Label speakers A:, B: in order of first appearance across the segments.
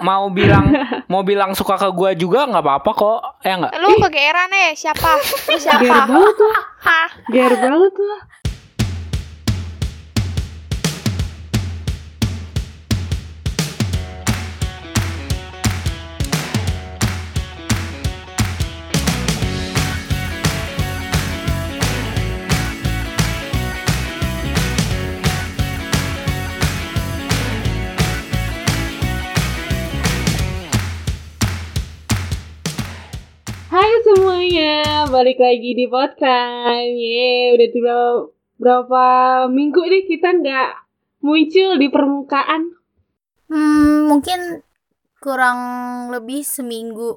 A: mau bilang mau bilang suka ke gua juga nggak apa-apa kok ya nggak
B: Lu kegeeran ya siapa? Lu
C: Ger
B: siapa?
C: banget lah,
B: Hah?
C: ger banget lah. Hai semuanya, balik lagi di podcast. Ye, udah tiba berapa minggu nih kita nggak muncul di permukaan.
D: Hmm, mungkin kurang lebih seminggu,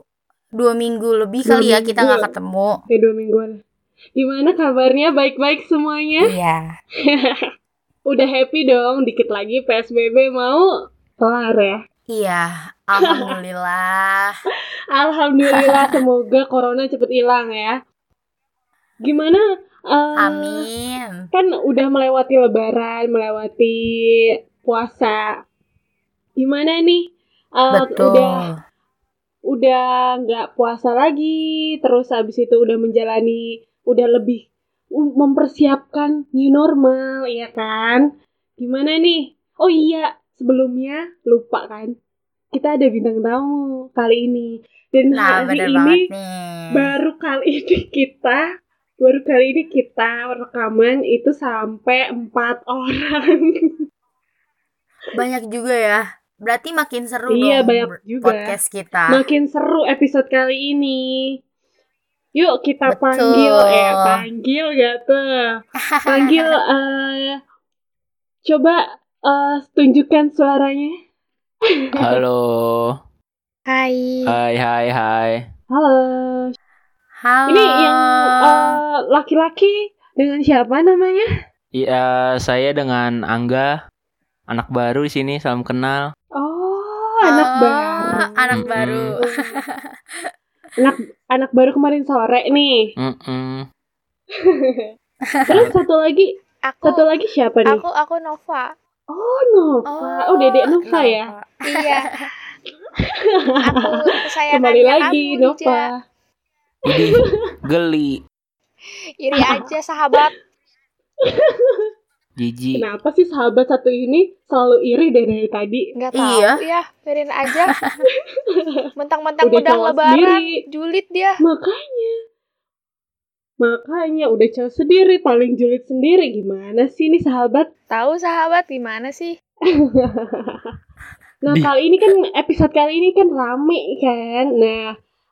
D: dua minggu lebih
C: Dua
D: kali ya kita nggak
C: minggu.
D: ketemu.
C: Kayak Ya, dua mingguan. Gimana kabarnya? Baik-baik semuanya?
D: Iya.
C: Udah happy dong, dikit lagi PSBB mau kelar ya.
D: Iya, alhamdulillah.
C: Alhamdulillah, semoga corona cepet hilang ya. Gimana? eh,
D: Amin.
C: Kan udah melewati lebaran, melewati puasa. Gimana nih? Eh, Udah
D: Betul.
C: udah nggak puasa lagi terus habis itu udah menjalani udah lebih mempersiapkan new normal ya kan gimana nih oh iya sebelumnya lupa kan kita ada bintang tamu kali ini dan
D: Nah,
C: hari
D: bener
C: ini
D: banget nih.
C: baru kali ini kita baru kali ini kita rekaman itu sampai empat orang
D: Banyak juga ya. Berarti makin seru
C: Iya,
D: dong
C: banyak
D: ber-
C: juga.
D: podcast kita.
C: Makin seru episode kali ini. Yuk kita
D: Betul.
C: panggil eh panggil gak tuh? Panggil eh coba eh, tunjukkan suaranya.
A: halo
B: Hai.
A: hai hai hai
C: Halo.
D: Halo.
C: Ini yang eh, laki-laki dengan siapa namanya?
A: iya saya dengan Angga anak baru di sini salam kenal
C: Oh,
D: Ah,
C: anak baru.
D: Anak
A: Mm-mm.
D: baru.
C: anak anak baru kemarin sore nih.
A: Mm-mm.
C: Terus satu lagi,
B: Aku
C: satu lagi siapa nih?
B: aku aku Nova.
C: Oh, Nova. Oh, Dedek Nova ya.
D: Nova.
B: Iya. Aku kesayangan
C: Kembali lagi Nova.
A: Idih, geli
B: Iri aja sahabat.
A: jijik
C: Kenapa sih sahabat satu ini selalu iri dari, dari tadi?
B: Enggak tahu.
D: Iya.
B: Iya, biarin aja. Mentang-mentang
C: Udah
B: udah
C: cowok
B: lebaran,
C: sendiri.
B: julid dia.
C: Makanya. Makanya udah cowok sendiri, paling julid sendiri. Gimana sih ini sahabat?
B: Tahu sahabat gimana sih?
C: Nah,
A: Di-
C: kali ini kan episode kali ini kan rame kan. Nah,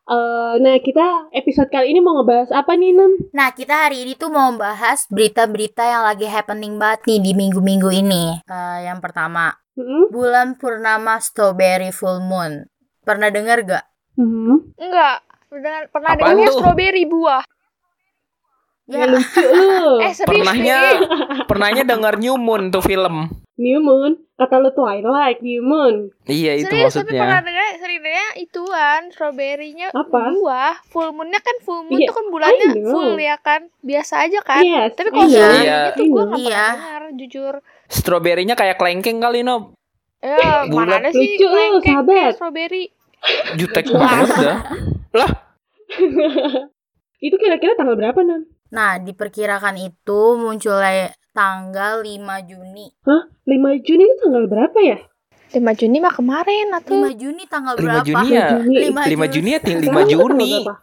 C: eh, nah kita episode kali ini mau ngebahas apa nih, Nan?
D: Nah, kita hari ini tuh mau bahas berita-berita yang lagi happening banget nih di minggu-minggu ini. Eh, yang pertama,
C: Hmm?
D: bulan purnama strawberry full moon. Pernah dengar gak?
C: Hmm.
B: Enggak. Pernah pernah
A: Apaan
B: dengar
A: tuh?
B: stroberi buah?
C: Ya, lucu lu.
B: Eh, serius.
A: pernahnya pernahnya dengar New Moon tuh film
C: New Moon, kata lu Twilight, New Moon.
A: iya itu
B: serius tapi pernah
A: maksudnya
B: dengar sebenarnya ituan stroberinya
C: Apa?
B: buah full moonnya kan full moon
C: Iya,
B: tuh kan bulannya
C: I know.
B: full ya kan biasa aja kan
C: Yes.
B: tapi kalau
D: Iya.
B: strawberry-nya
A: Iya.
B: tuh gue nggak
D: Iya.
B: pernah dengar jujur
A: stroberinya kayak klengkeng kali no
B: ya
A: Bulat.
B: mana ada sih
C: Lucu lu,
B: lengkeng kayak
C: sahabat.
B: stroberi
A: jutek banget dah
C: Itu kira-kira tanggal berapa, Nan?
D: Nah, diperkirakan itu munculnya tanggal 5 Juni.
C: 5 Juni itu tanggal berapa ya?
B: 5 Juni mah kemarin atau
D: 5 Juni tanggal
A: 5
D: berapa?
A: Juni ya
D: 5
A: 5 Juni ya 5
C: Sekarang itu tanggal
A: Juni
C: berapa?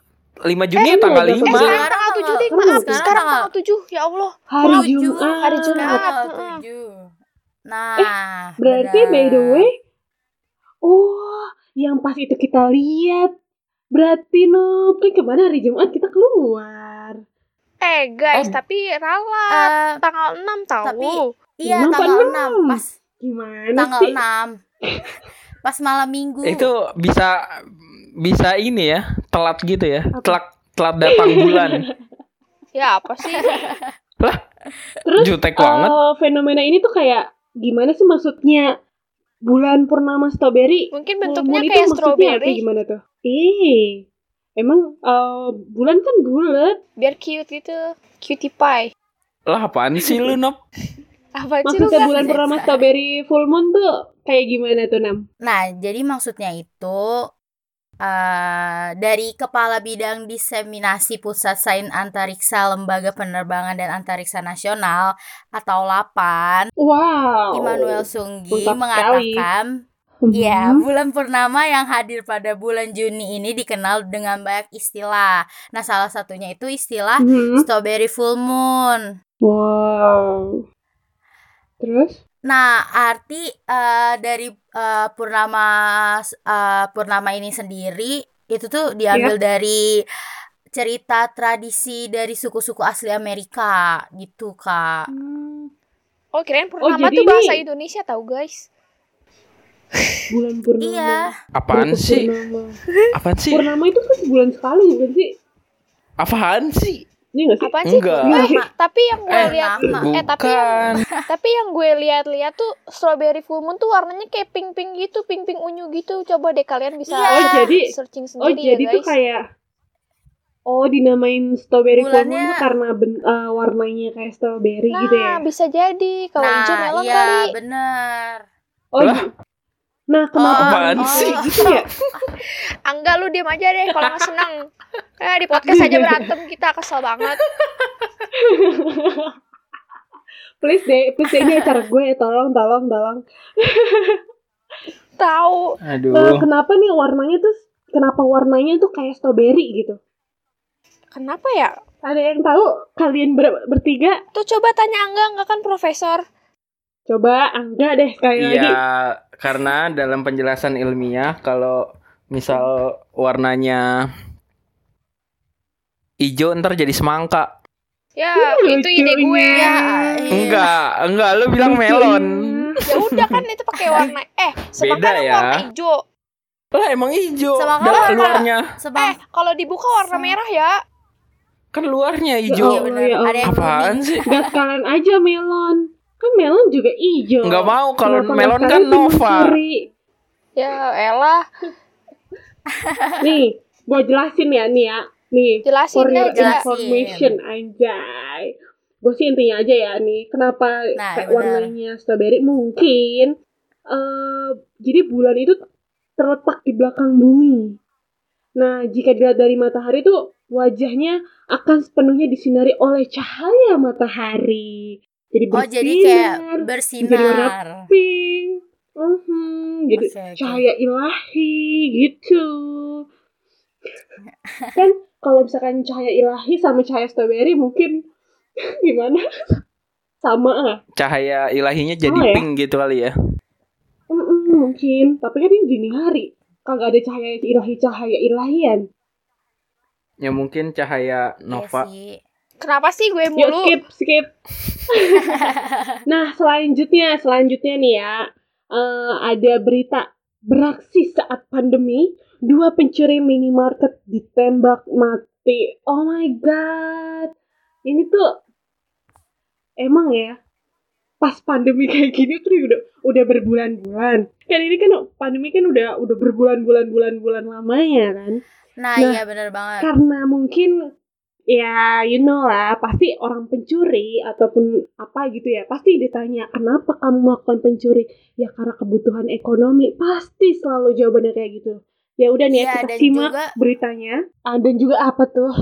A: 5 Juni
C: Eh,
A: ya tanggal
C: iya, iya,
A: 5
B: eh sekarang
D: Sekarang
B: tanggal tujuh deh
C: tanggal-
B: maaf
C: sekarang
B: sekarang
D: tanggal-
B: tanggal tujuh ya Allah
C: Hari
D: Tujuh.
C: Jumat.
B: Hari Jumat.
D: Tanggal
B: heeh.
D: 7. Nah,
C: Eh, Berarti by the
D: benar.
C: way, oh yang pas itu kita lihat. Berarti Nob, kan kemana hari Jumat kita keluar.
B: eh guys
A: Eh.
B: tapi ralat
D: Eh,
B: tanggal 6 tahu
D: tapi- iya
C: Lima apa
D: tanggal
C: enam?
D: 6 pas
C: Gimana
D: tanggal
C: sih?
D: 6. Pas malam Minggu.
A: itu bisa bisa ini ya telat gitu ya
C: Apa?
A: telat telat datang bulan
B: ya apa sih
D: Iya.
C: Terus,
A: jutek
C: Eh,
A: banget
C: fenomena ini tuh kayak gimana sih maksudnya? Bulan purnama strawberry.
B: mungkin
C: full
B: bentuknya
C: moon itu
B: kayak
C: maksudnya
B: stroberi
C: kayak gimana tuh? Ih. Emang eh, bulan kan bulat.
B: biar cute gitu cutie pie
A: lah apaan sih lu nop
B: Apa sih lu
C: Maksudnya
B: gak?
C: bulan purnama strawberry full moon tuh kayak gimana tuh Nam?
D: Nah, jadi maksudnya itu eh, dari Kepala Bidang Diseminasi Pusat Sains Antariksa Lembaga Penerbangan dan Antariksa Nasional atau LAPAN,
C: Wow.
D: Immanuel Sunggi
C: Oh. mantap sekali.
D: mengatakan,
C: Mhm.
B: Iya.
D: ya, bulan purnama yang hadir pada bulan Juni ini dikenal dengan banyak istilah. Nah, salah satunya itu
B: Ah.
D: istilah
C: Mhm.
D: strawberry full moon.
C: Wow. Terus?
D: Nah, arti eh, dari eh, purnama eh, purnama ini sendiri itu tuh diambil dari cerita tradisi dari suku-suku asli Amerika gitu, Kak.
B: Oh kirain purnama
C: jadi
B: tuh
C: ini-
B: bahasa Indonesia tahu guys.
C: Bulan purnama.
D: Iya.
A: Apaan
C: Berapa
A: sih?
C: Purnama.
A: Apaan sih?
C: Purnama itu kan sebulan sekali bukan sih?
A: Apaan sih?
C: Iya nggak sih?
B: Apaan sih?
A: Enggak.
B: Eh, tapi yang gue
A: Eh,
B: lihat
D: nama.
B: eh tapi
A: Bukan.
B: yang tapi yang gue lihat-lihat tuh strawberry full moon tuh warnanya kayak pink-pink gitu, pink-pink unyu gitu. Coba deh kalian bisa
D: Iya.
C: Oh, jadi-
B: searching
C: Oh
B: sendiri
C: jadi
B: ya
C: tuh
B: guys.
C: kayak Oh dinamain strawberry full moon
D: Bulannya-
C: tuh karena ben- eh, warnanya kayak strawberry
B: nah,
C: gitu ya?
B: bisa jadi kalau
D: nah,
B: hijau melon
D: iya,
B: kali.
D: bener.
C: Oh
A: Lah?
C: ji- Nah kenapa
D: Oh,
A: Apaan
C: warnanya
A: sih?
C: gitu ya?
B: Angga Ah, lu diam aja deh kalau nggak seneng. Eh di podcast aja berantem kita kesel banget.
C: Please deh, please deh ini acara gue ya tolong tolong tolong.
B: Tahu.
C: Nah,
A: Aduh.
C: kenapa nih warnanya tuh kenapa warnanya tuh kayak strawberry gitu?
B: Kenapa ya?
C: Ada yang tahu kalian ber- bertiga?
B: Tuh coba tanya Angga, Angga kan profesor.
C: Coba Angga deh sekali lagi.
A: Iya, karena dalam penjelasan ilmiah kalau misal warnanya hijau ntar jadi semangka.
B: Ya,
C: Hmm,
B: itu ide gue.
C: lucunya.
D: Ya, iya.
A: Enggak, enggak lu bilang
C: Lucu
A: melon.
C: ya.
B: Ya udah kan itu pakai warna eh semangka
A: Beda
B: kan
A: ya.
B: warna hijau.
A: Lah emang hijau.
D: Semangka
A: Dah,
D: warna-
A: luarnya
B: Eh,
D: Sebab
B: kalau dibuka warna
D: Sama.
B: merah ya.
A: kan luarnya
D: iya
A: hijau.
C: Oh,
D: bener.
C: ya
D: Ada yang kuning.
A: Apaan sih?
C: Gak sekalian aja melon. Kan melon juga hijau.
A: Enggak mau kalau
C: Kenapa
A: melon
C: nggak
A: kan
C: sekalian timun
A: Nova.
C: suri?
B: Ya elah,
C: Nih, gue jelasin ya nih ya. Nih,
B: jelasin
C: for
B: deh.
C: your
D: jelasin.
B: jelas.
C: information anjay gue sih intinya aja ya nih kenapa
D: Nah,
C: kayak
D: iya benar.
C: warnanya strawberry mungkin eh jadi bulan itu terletak di belakang bumi nah jika dilihat dari matahari tuh wajahnya akan sepenuhnya disinari oleh cahaya matahari jadi
D: Oh,
C: bersinar
D: jadi kayak
C: jadi warna
D: bersinar.
C: pink Mhm, jadi
D: Oke, oke.
C: cahaya ilahi gitu kan kalau misalkan cahaya ilahi sama cahaya strawberry mungkin gimana sama ah
A: Cahaya ilahinya jadi
C: Oh, ya?
A: pink gitu kali ya.
C: Mm-mm, Mhm, mungkin tapi kan ini dini hari kagak ada cahaya ilahi cahaya ilahian
A: Ya mungkin cahaya
D: Iya
A: Nova.
D: sih.
B: Kenapa sih gue
C: Yuk
B: mulu?
C: Ya, skip skip. nah selanjutnya selanjutnya nih ya eh, ada berita beraksi saat pandemi dua pencuri minimarket ditembak mati. Oh my god, ini tuh emang ya pas pandemi kayak gini tuh udah udah berbulan-bulan. Kan ini kan pandemi kan udah udah berbulan-bulan bulan-bulan lamanya kan
D: Nah,
C: Nah,
D: iya bener banget.
C: karena mungkin ya you know lah pasti orang pencuri ataupun apa gitu ya pasti ditanya kenapa kamu melakukan pencuri ya karena kebutuhan ekonomi pasti selalu jawabannya kayak gitu ya udah nih ya,
D: Iya,
C: kita
D: dan
C: simak
D: juga-
C: beritanya Ah, dan juga apa tuh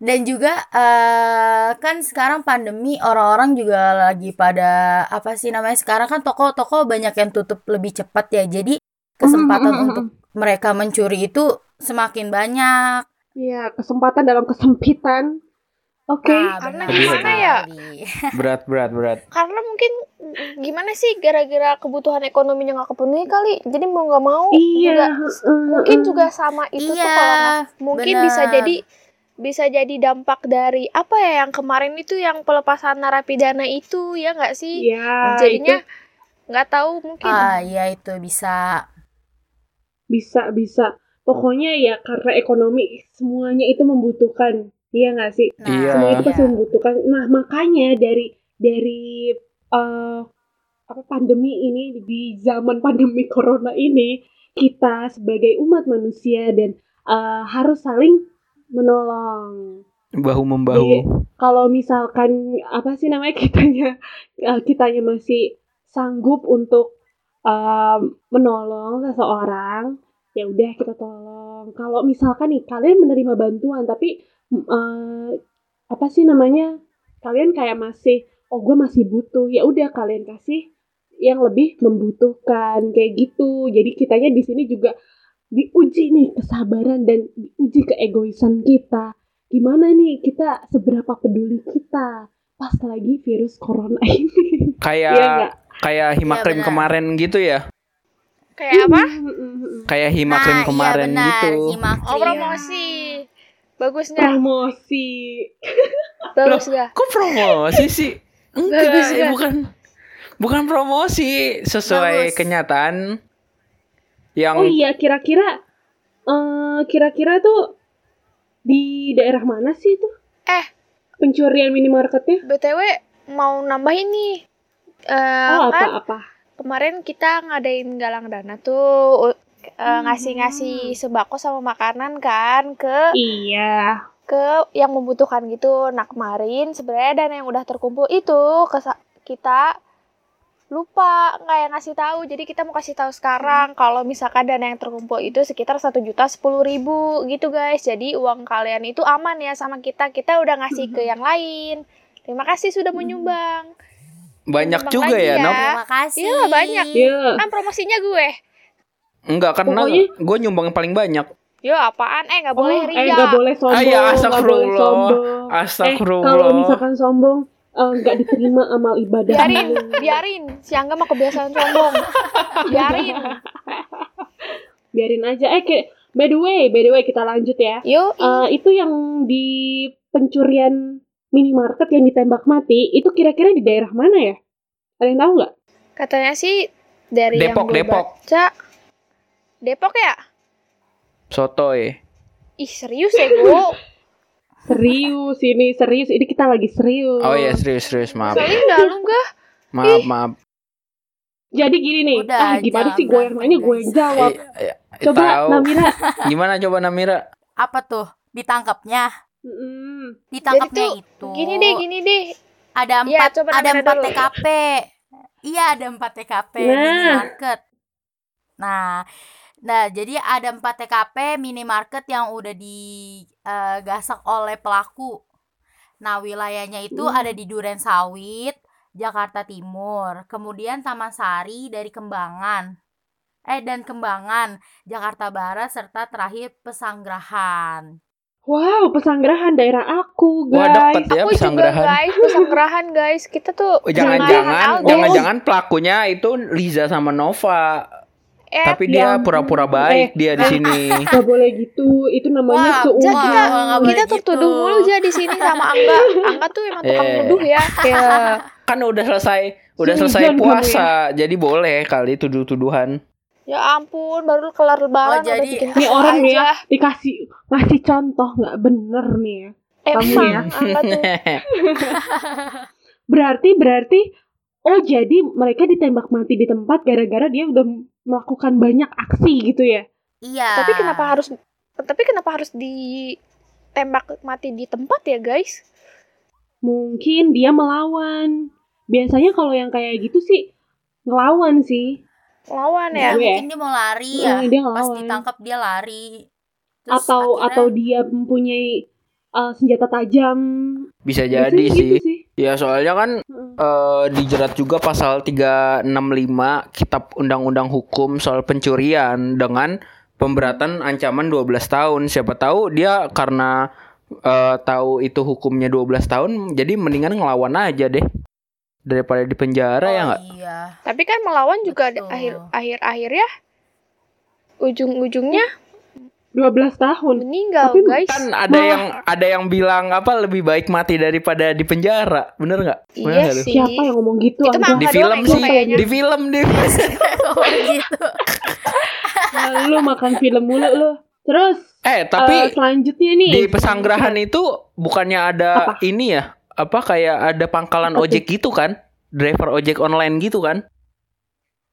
D: Dan juga eh, kan sekarang pandemi orang-orang juga lagi pada apa sih namanya sekarang kan toko-toko banyak yang tutup lebih cepat ya. Jadi kesempatan
B: Mm-hmm.
C: Mm, mm, mm,
D: untuk mereka mencuri itu semakin banyak.
C: ya kesempatan dalam kesempitan oke
B: karena
D: Nah, benar
A: gimana
D: sekali.
B: ya?
A: Berat berat berat.
B: Karena mungkin mm, gimana sih gara-gara kebutuhan ekonominya nggak kepenuhi kali. Jadi mau nggak mau juga
C: iya mm,
B: mungkin
C: mm.
B: juga sama itu tuh
D: Iya,
B: kalau nggak- mungkin
D: benar.
B: bisa jadi bisa jadi dampak dari apa ya yang kemarin itu yang pelepasan narapidana itu ya nggak sih
C: ya itu
B: jadinya nggak tahu mungkin
D: Ah, iya itu bisa.
C: bisa bisa pokoknya ya karena ekonomi semuanya itu membutuhkan iya nggak sih
D: Nah,
A: Iya.
C: semua itu
D: iya.
C: pasti membutuhkan nah makanya dari dari eh, apa pandemi ini di zaman pandemi corona ini kita sebagai umat manusia dan eh, harus saling menolong Iya.
A: Bahu membahu.
C: kalau misalkan apa sih namanya kitanya eh, kitanya masih sanggup untuk um, menolong seseorang ya udah kita tolong kalau misalkan nih kalian menerima bantuan tapi mm, eh, apa sih namanya kalian kayak masih oh gue masih butuh ya udah kalian kasih yang lebih membutuhkan kayak gitu jadi kitanya di sini juga diuji nih kesabaran dan diuji keegoisan kita gimana nih kita seberapa peduli kita pas lagi virus corona ini
A: Kayak
C: Iya nggak?
A: kayak himakrim
D: Iya, benar.
A: kemarin gitu ya.
B: Kayak apa?
C: Mm, mm, mm.
A: Kayak himakrim
D: Nah, iya
A: kemarin
D: benar, Iya.
A: gitu.
D: Himakrim.
C: Iya.
B: Oh promosi. Bagus nggak?
C: promosi
B: Bagus nggak?
A: Kok promosi sih? Enggak,
B: Bagus,
A: eh,
B: Kak.
A: bukan bukan promosi sesuai
D: Bagus.
A: kenyataan yang
C: Oh iya, kira-kira eh kira-kira tuh di daerah mana sih itu?
B: Eh.
C: pencurian minimarketnya?
B: BTW mau nambahin nih. Eh,
C: oh,
B: kan
C: apa-apa.
B: kemarin kita ngadain galang dana tuh u- eh,
C: Hmm.
B: ngasih-ngasih sembako sama makanan kan ke
C: Iya.
B: ke yang membutuhkan gitu. Nah, kemarin sebenarnya dana yang udah terkumpul itu ke sa- kita lupa nggak yang ngasih tahu jadi kita mau kasih tahu
C: Hmm.
B: sekarang kalau misalkan dana yang terkumpul itu sekitar satu juta sepuluh ribu gitu guys jadi uang kalian itu aman ya sama kita kita udah ngasih ke
C: Hmm.
B: yang lain terima kasih sudah menyumbang
A: banyak
B: Kembang
A: juga
B: lagi
A: ya,
B: ya.
A: Nop.
D: Terima kasih.
B: Iya, banyak.
C: Iya.
B: kan promosinya gue
A: Enggak karena
C: Pokoknya-
A: gue nyumbang yang paling banyak.
B: yo apaan eh nggak boleh
C: Oh,
B: ria
C: eh nggak boleh sombong.
A: Ah, iya,
C: nggak boleh
A: astagfirullah.
C: sombong. Eh, kalau
A: Astagfirullah.
C: misalkan sombong eh, nggak diterima amal ibadah.
B: biarin biarin si Angga mah kebiasaan sombong biarin
C: Biarin aja. Eh, kayak- by the way, by the way kita lanjut ya.
B: yo
C: Eh, itu yang di pencurian minimarket yang ditembak mati itu kira-kira di daerah mana ya? Ada yang tahu nggak?
B: katanya sih dari
A: Depok,
B: yang gue
A: Depok.
B: baca Depok ya
A: Sotoy.
B: ih serius ya gue
C: Serius ini serius ini kita lagi serius.
A: Oh iya serius serius maaf
B: soalnya nggak lu nggak
A: maaf maaf.
C: Jadi gini nih,
D: Udah,
C: ah gimana
D: jangan
C: sih gue yang
D: berantem,
C: nanya gue yang jawab.
A: Eh, eh,
C: Coba
A: tahu.
C: Namira.
A: Gimana coba Namira?
D: Apa tuh? Ditangkapnya.
C: Mm,
D: Ditangkapnya
B: Jadi
D: itu.
B: gini deh gini deh Iya,
D: Ada empat,
B: coba
D: ada
B: Namira
D: empat
B: dulu. Iya.
D: TKP. Iya, ada empat TKP
C: Nah.
D: minimarket. Nah, nah jadi ada empat TKP minimarket yang udah digasak oleh pelaku. Nah, wilayahnya itu
C: Hmm.
D: ada di Duren Sawit, Jakarta Timur, kemudian Taman Sari dari Kembangan. Eh dan Kembangan, Jakarta Barat serta terakhir Pesanggrahan.
C: wow, pesanggrahan daerah aku,
A: Wah deket
C: guys.
A: ya
B: aku juga
A: pesanggrahan.
B: guys pesanggrahan guys kita tuh
A: Oh, Jangan-jangan,
B: Jangan,
A: jangan-jangan pelakunya itu Liza sama Nova,
B: eh
A: tapi dia
C: ya
A: pura-pura
C: ampun.
A: baik dia di
B: Ah.
C: eh.
A: sini.
C: Gak boleh gitu, itu namanya
D: Wah,
B: Ja,
C: seumur.
D: wah,
B: kita,
D: wah, nggak boleh
B: kita
D: gitu.
B: tertuduh mulu aja di sini sama Angga. Angga tuh emang tukang
A: Eh.
B: nuduh ya.
A: Kan udah selesai, udah
C: Suzon
A: selesai
C: kamu
A: puasa, jadi boleh kali tuduh-tuduhan.
B: Ya ampun, baru kelar lebaran
D: Oh, jadi-
B: udah bikin
C: Ini
B: kesel
C: orang nih
B: aja.
C: ya, dikasih ngasih contoh nggak bener nih ya.
B: Eh, Emang
C: ya.
B: Angga tuh.
C: Berarti berarti oh jadi mereka ditembak mati di tempat gara-gara dia udah melakukan banyak aksi gitu ya.
D: Iya.
B: Tapi kenapa harus tapi kenapa harus ditembak mati di tempat ya, guys?
C: Mungkin dia melawan. Biasanya kalau yang kayak gitu sih ngelawan sih.
B: Lawan
D: Ya,
B: ya.
C: Gue.
D: mungkin dia mau lari ya.
C: Eh, dia
D: Pas
C: ngelawan.
D: ditangkap dia lari. Terus
C: atau
D: akhirnya-
C: atau dia mempunyai eh, senjata tajam.
A: Bisa
C: Biasanya
A: jadi
C: gitu
A: sih. Ya soalnya kan
C: Heeh.
A: eh, dijerat juga pasal 365 Kitab Undang-Undang Hukum soal pencurian dengan pemberatan ancaman 12 tahun. Siapa tahu dia karena eh, tahu itu hukumnya 12 tahun jadi mendingan ngelawan aja deh daripada di penjara ya
D: Oh,
A: nggak?
D: Iya.
B: Tapi kan melawan juga ada
D: Betul.
B: akhir akhir akhirnya ujung-ujungnya
C: 12 tahun.
B: meninggal,
C: Tapi
B: guys.
A: Kan ada
B: iya.
C: Malah-
A: yang ada yang bilang apa lebih baik mati daripada di penjara, bener nggak? Bener
B: Iya
A: nggak lu?
B: sih.
C: Siapa yang ngomong gitu?
B: Itu
C: Angga?
A: Di
B: Nggak
A: film
B: doang,
A: sih,
B: kayaknya.
A: di film di.
D: Oh, gitu.
C: Ah, lu makan film mulu lu. Terus
A: eh tapi
C: eh, selanjutnya nih
B: Iya, gitu.
A: di pesanggrahan itu bukannya ada ini ya apa kayak ada pangkalan
C: Apa tuh?
A: ojek gitu kan driver ojek online gitu kan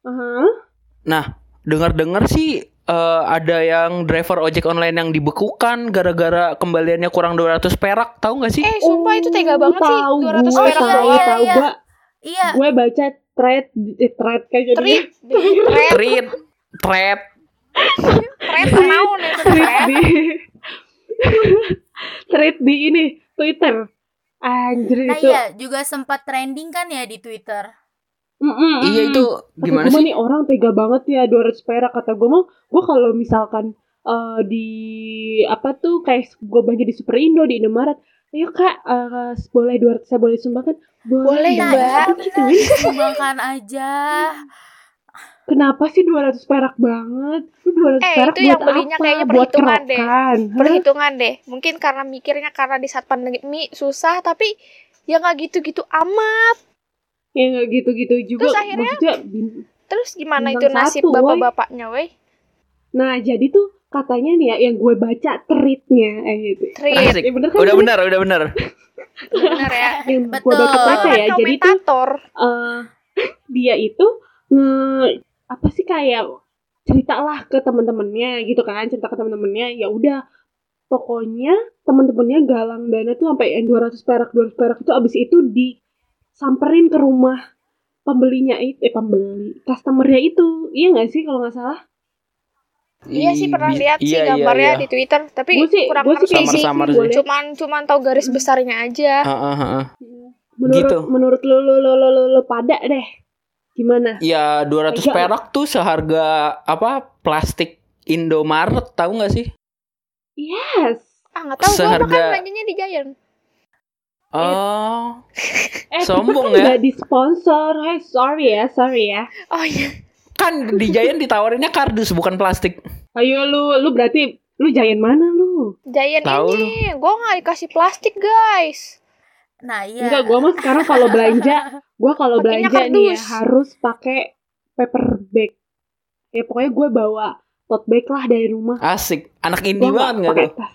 C: Aha.
A: dengar dengar sih eh, ada yang driver ojek online yang dibekukan gara-gara kembaliannya kurang 200 perak, tahu nggak sih?
B: Eh, sumpah itu tega
C: Oh,
B: banget sih.
C: tahu
B: 200
C: gue,
B: perak
C: tahu,
D: iya,
B: doang.
D: iya,
C: tahu
D: iya.
C: gue.
D: Iya,
C: Gue baca thread, eh, thread kayak jadi
B: Trip, trip,
A: Treat, treat.
B: trip, mau nih
C: thread
B: trip.
C: di thread di ini Twitter. Anjir
D: nah
C: itu.
D: iya juga sempat trending kan ya di Twitter.
C: Mm-mm.
B: Hmm.
A: Iya itu
C: Kata
A: gimana
C: gua
A: sih?
C: nih orang tega banget ya 200 perak kata gue mau gue kalau misalkan eh, di apa tuh kayak gue belanja di Superindo di Indomaret ayo kak eh, boleh 200 saya boleh sumbangkan
B: Boleh,
C: Mbak." Kan
B: Mbak.
C: Aku gituin,
D: Sumbangkan aja.
C: kenapa sih 200 perak banget lu 200
B: Eh,
C: perak
B: itu
C: buat
B: yang belinya
C: apa?
B: kayaknya
C: buat
B: perhitungan deh.
C: kerokan. Hah?
B: Perhitungan deh. Mungkin karena mikirnya karena di saat pandemi susah, tapi ya nggak gitu-gitu amat.
C: ya nggak gitu-gitu juga
B: Terus akhirnya-
C: maksudnya bin-
B: Terus gimana
C: Bintang
B: itu nasib
C: satu, woy.
B: bapak-bapaknya, weh?
C: Nah, jadi tuh katanya nih ya yang gue baca tweetnya eh gitu.
B: Trip,
A: Asik.
C: Ya bener kan?
A: Udah benar, udah benar.
B: bener ya.
C: Yang gue
D: Betul.
C: baca baca ya. Jadi tuh
B: komentator.
C: eh, dia itu nge apa sih kayak ceritalah ke teman-temannya gitu kan, cerita ke teman-temannya. Ya udah pokoknya teman-temannya galang dana tuh sampai yang 200 perak 200 perak itu abis itu disamperin ke rumah pembelinya itu eh pembeli customernya itu iya nggak sih kalau nggak salah
B: Iya sih pernah
A: Ih,
B: lihat sih
A: iya, iya,
B: gambarnya
A: iya.
B: di Twitter, tapi
C: gue sih
B: kurang
C: gue sih
B: ngerti
C: kayak
B: sih.
C: gitu
A: Samar-samar
C: boleh. Hmm.
B: Cuman cuman tahu garis besarnya aja.
A: Ah, ah, ah, ah.
C: menurut
A: Gitu.
C: menurut lu lu, lu lu lu lu pada deh gimana
A: Ya 200
B: Iya.
C: Tega.
A: perak tuh seharga apa plastik Indomaret tahu nggak sih?
C: yes
B: Ah, nggak tahu gua makan
A: Seharga-
B: belanjanya di Giant. Iya.
A: Oh,
C: eh
A: Sombong
C: kita kan
A: ya.
C: nggak di sponsor eh sorry ya sorry ya
B: Oh iya.
A: kan di Giant ditawarinnya kardus bukan plastik.
C: ayo lu lu berarti lu jayan mana lu
B: Giant
A: Tahu
B: ini gua nggak dikasih plastik, guys.
D: Nah iya.
C: enggak gua mah sekarang kalau belanja gua kalau
B: Pakainya
C: belanja nih ya
B: kardus.
C: harus pakai paper bag ya pokoknya gue bawa tote bag lah dari rumah
A: Asik, anak indie
C: Gua
A: banget
C: nggak
A: nggak
C: pakai
A: tuh?
C: tas.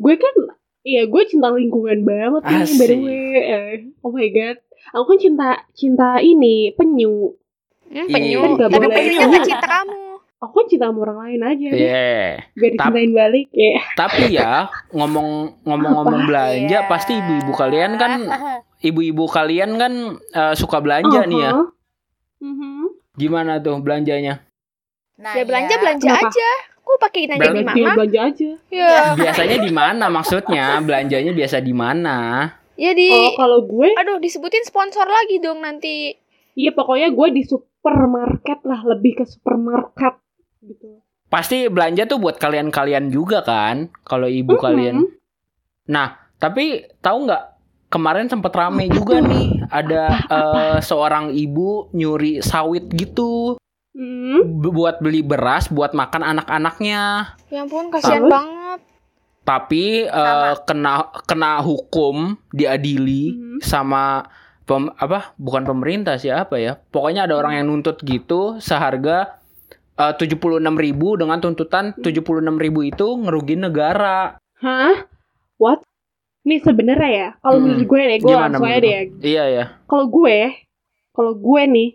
C: gue kan Iya, gue cinta lingkungan banget nih, by the
A: Asik.
C: way. Eh, oh my god, aku kan cinta cinta ini penyu.
A: Iya,
B: Hmm, penyu.
A: kan
C: nggak
B: Tapi
C: boleh.
B: penyunya nggak cinta kamu.
C: aku kan cinta sama orang lain aja
A: Iya.
C: deh. biar dicintain balik ya
A: Tapi ya ngomong ngomong-ngomong belanja
D: Iya.
A: pasti ibu-ibu kalian kan ibu-ibu kalian kan eh, suka belanja nih ya.
C: Uh-huh. Mhm.
A: Gimana tuh belanjanya?
D: Nah,
B: Ya belanja belanja
C: Iya. Kenapa? Iya.
B: aja. Kok pakai nanya di
A: Belanja.
C: Berarti
B: mama?
C: belanja aja
D: Iya.
B: Ya,
A: Biasanya di mana maksudnya? Belanjanya biasa di mana?
B: ya di
C: oh kalau gue
B: Aduh, disebutin sponsor lagi dong nanti.
C: iya pokoknya gue di supermarket lah lebih ke supermarket gitu
A: Pasti belanja tuh buat kalian-kalian juga kan kalau ibu kalian.
C: Mhm.
A: Tapi tahu nggak kemarin sempet rame juga nih ada eh, seorang ibu nyuri sawit gitu
C: Mhm.
A: bu- buat beli beras buat makan anak-anaknya.
B: Ya ampun, kasihan
C: Terus?
B: banget.
A: Tapi eh,
D: Sama.
A: kena kena hukum diadili
C: Mhm.
A: sama pem- apa bukan pemerintah sih apa ya. Pokoknya ada orang yang nuntut gitu seharga eh, tujuh puluh ribu dengan tuntutan 76.000 ribu itu ngerugi negara.
C: hah what nih sebenarnya ya kalau
A: Mhm.
C: menurut gue nih gue
A: Gimana
C: langsung aja
A: menurut
C: deh ya
A: Iya ya.
C: kalau gue kalau gue nih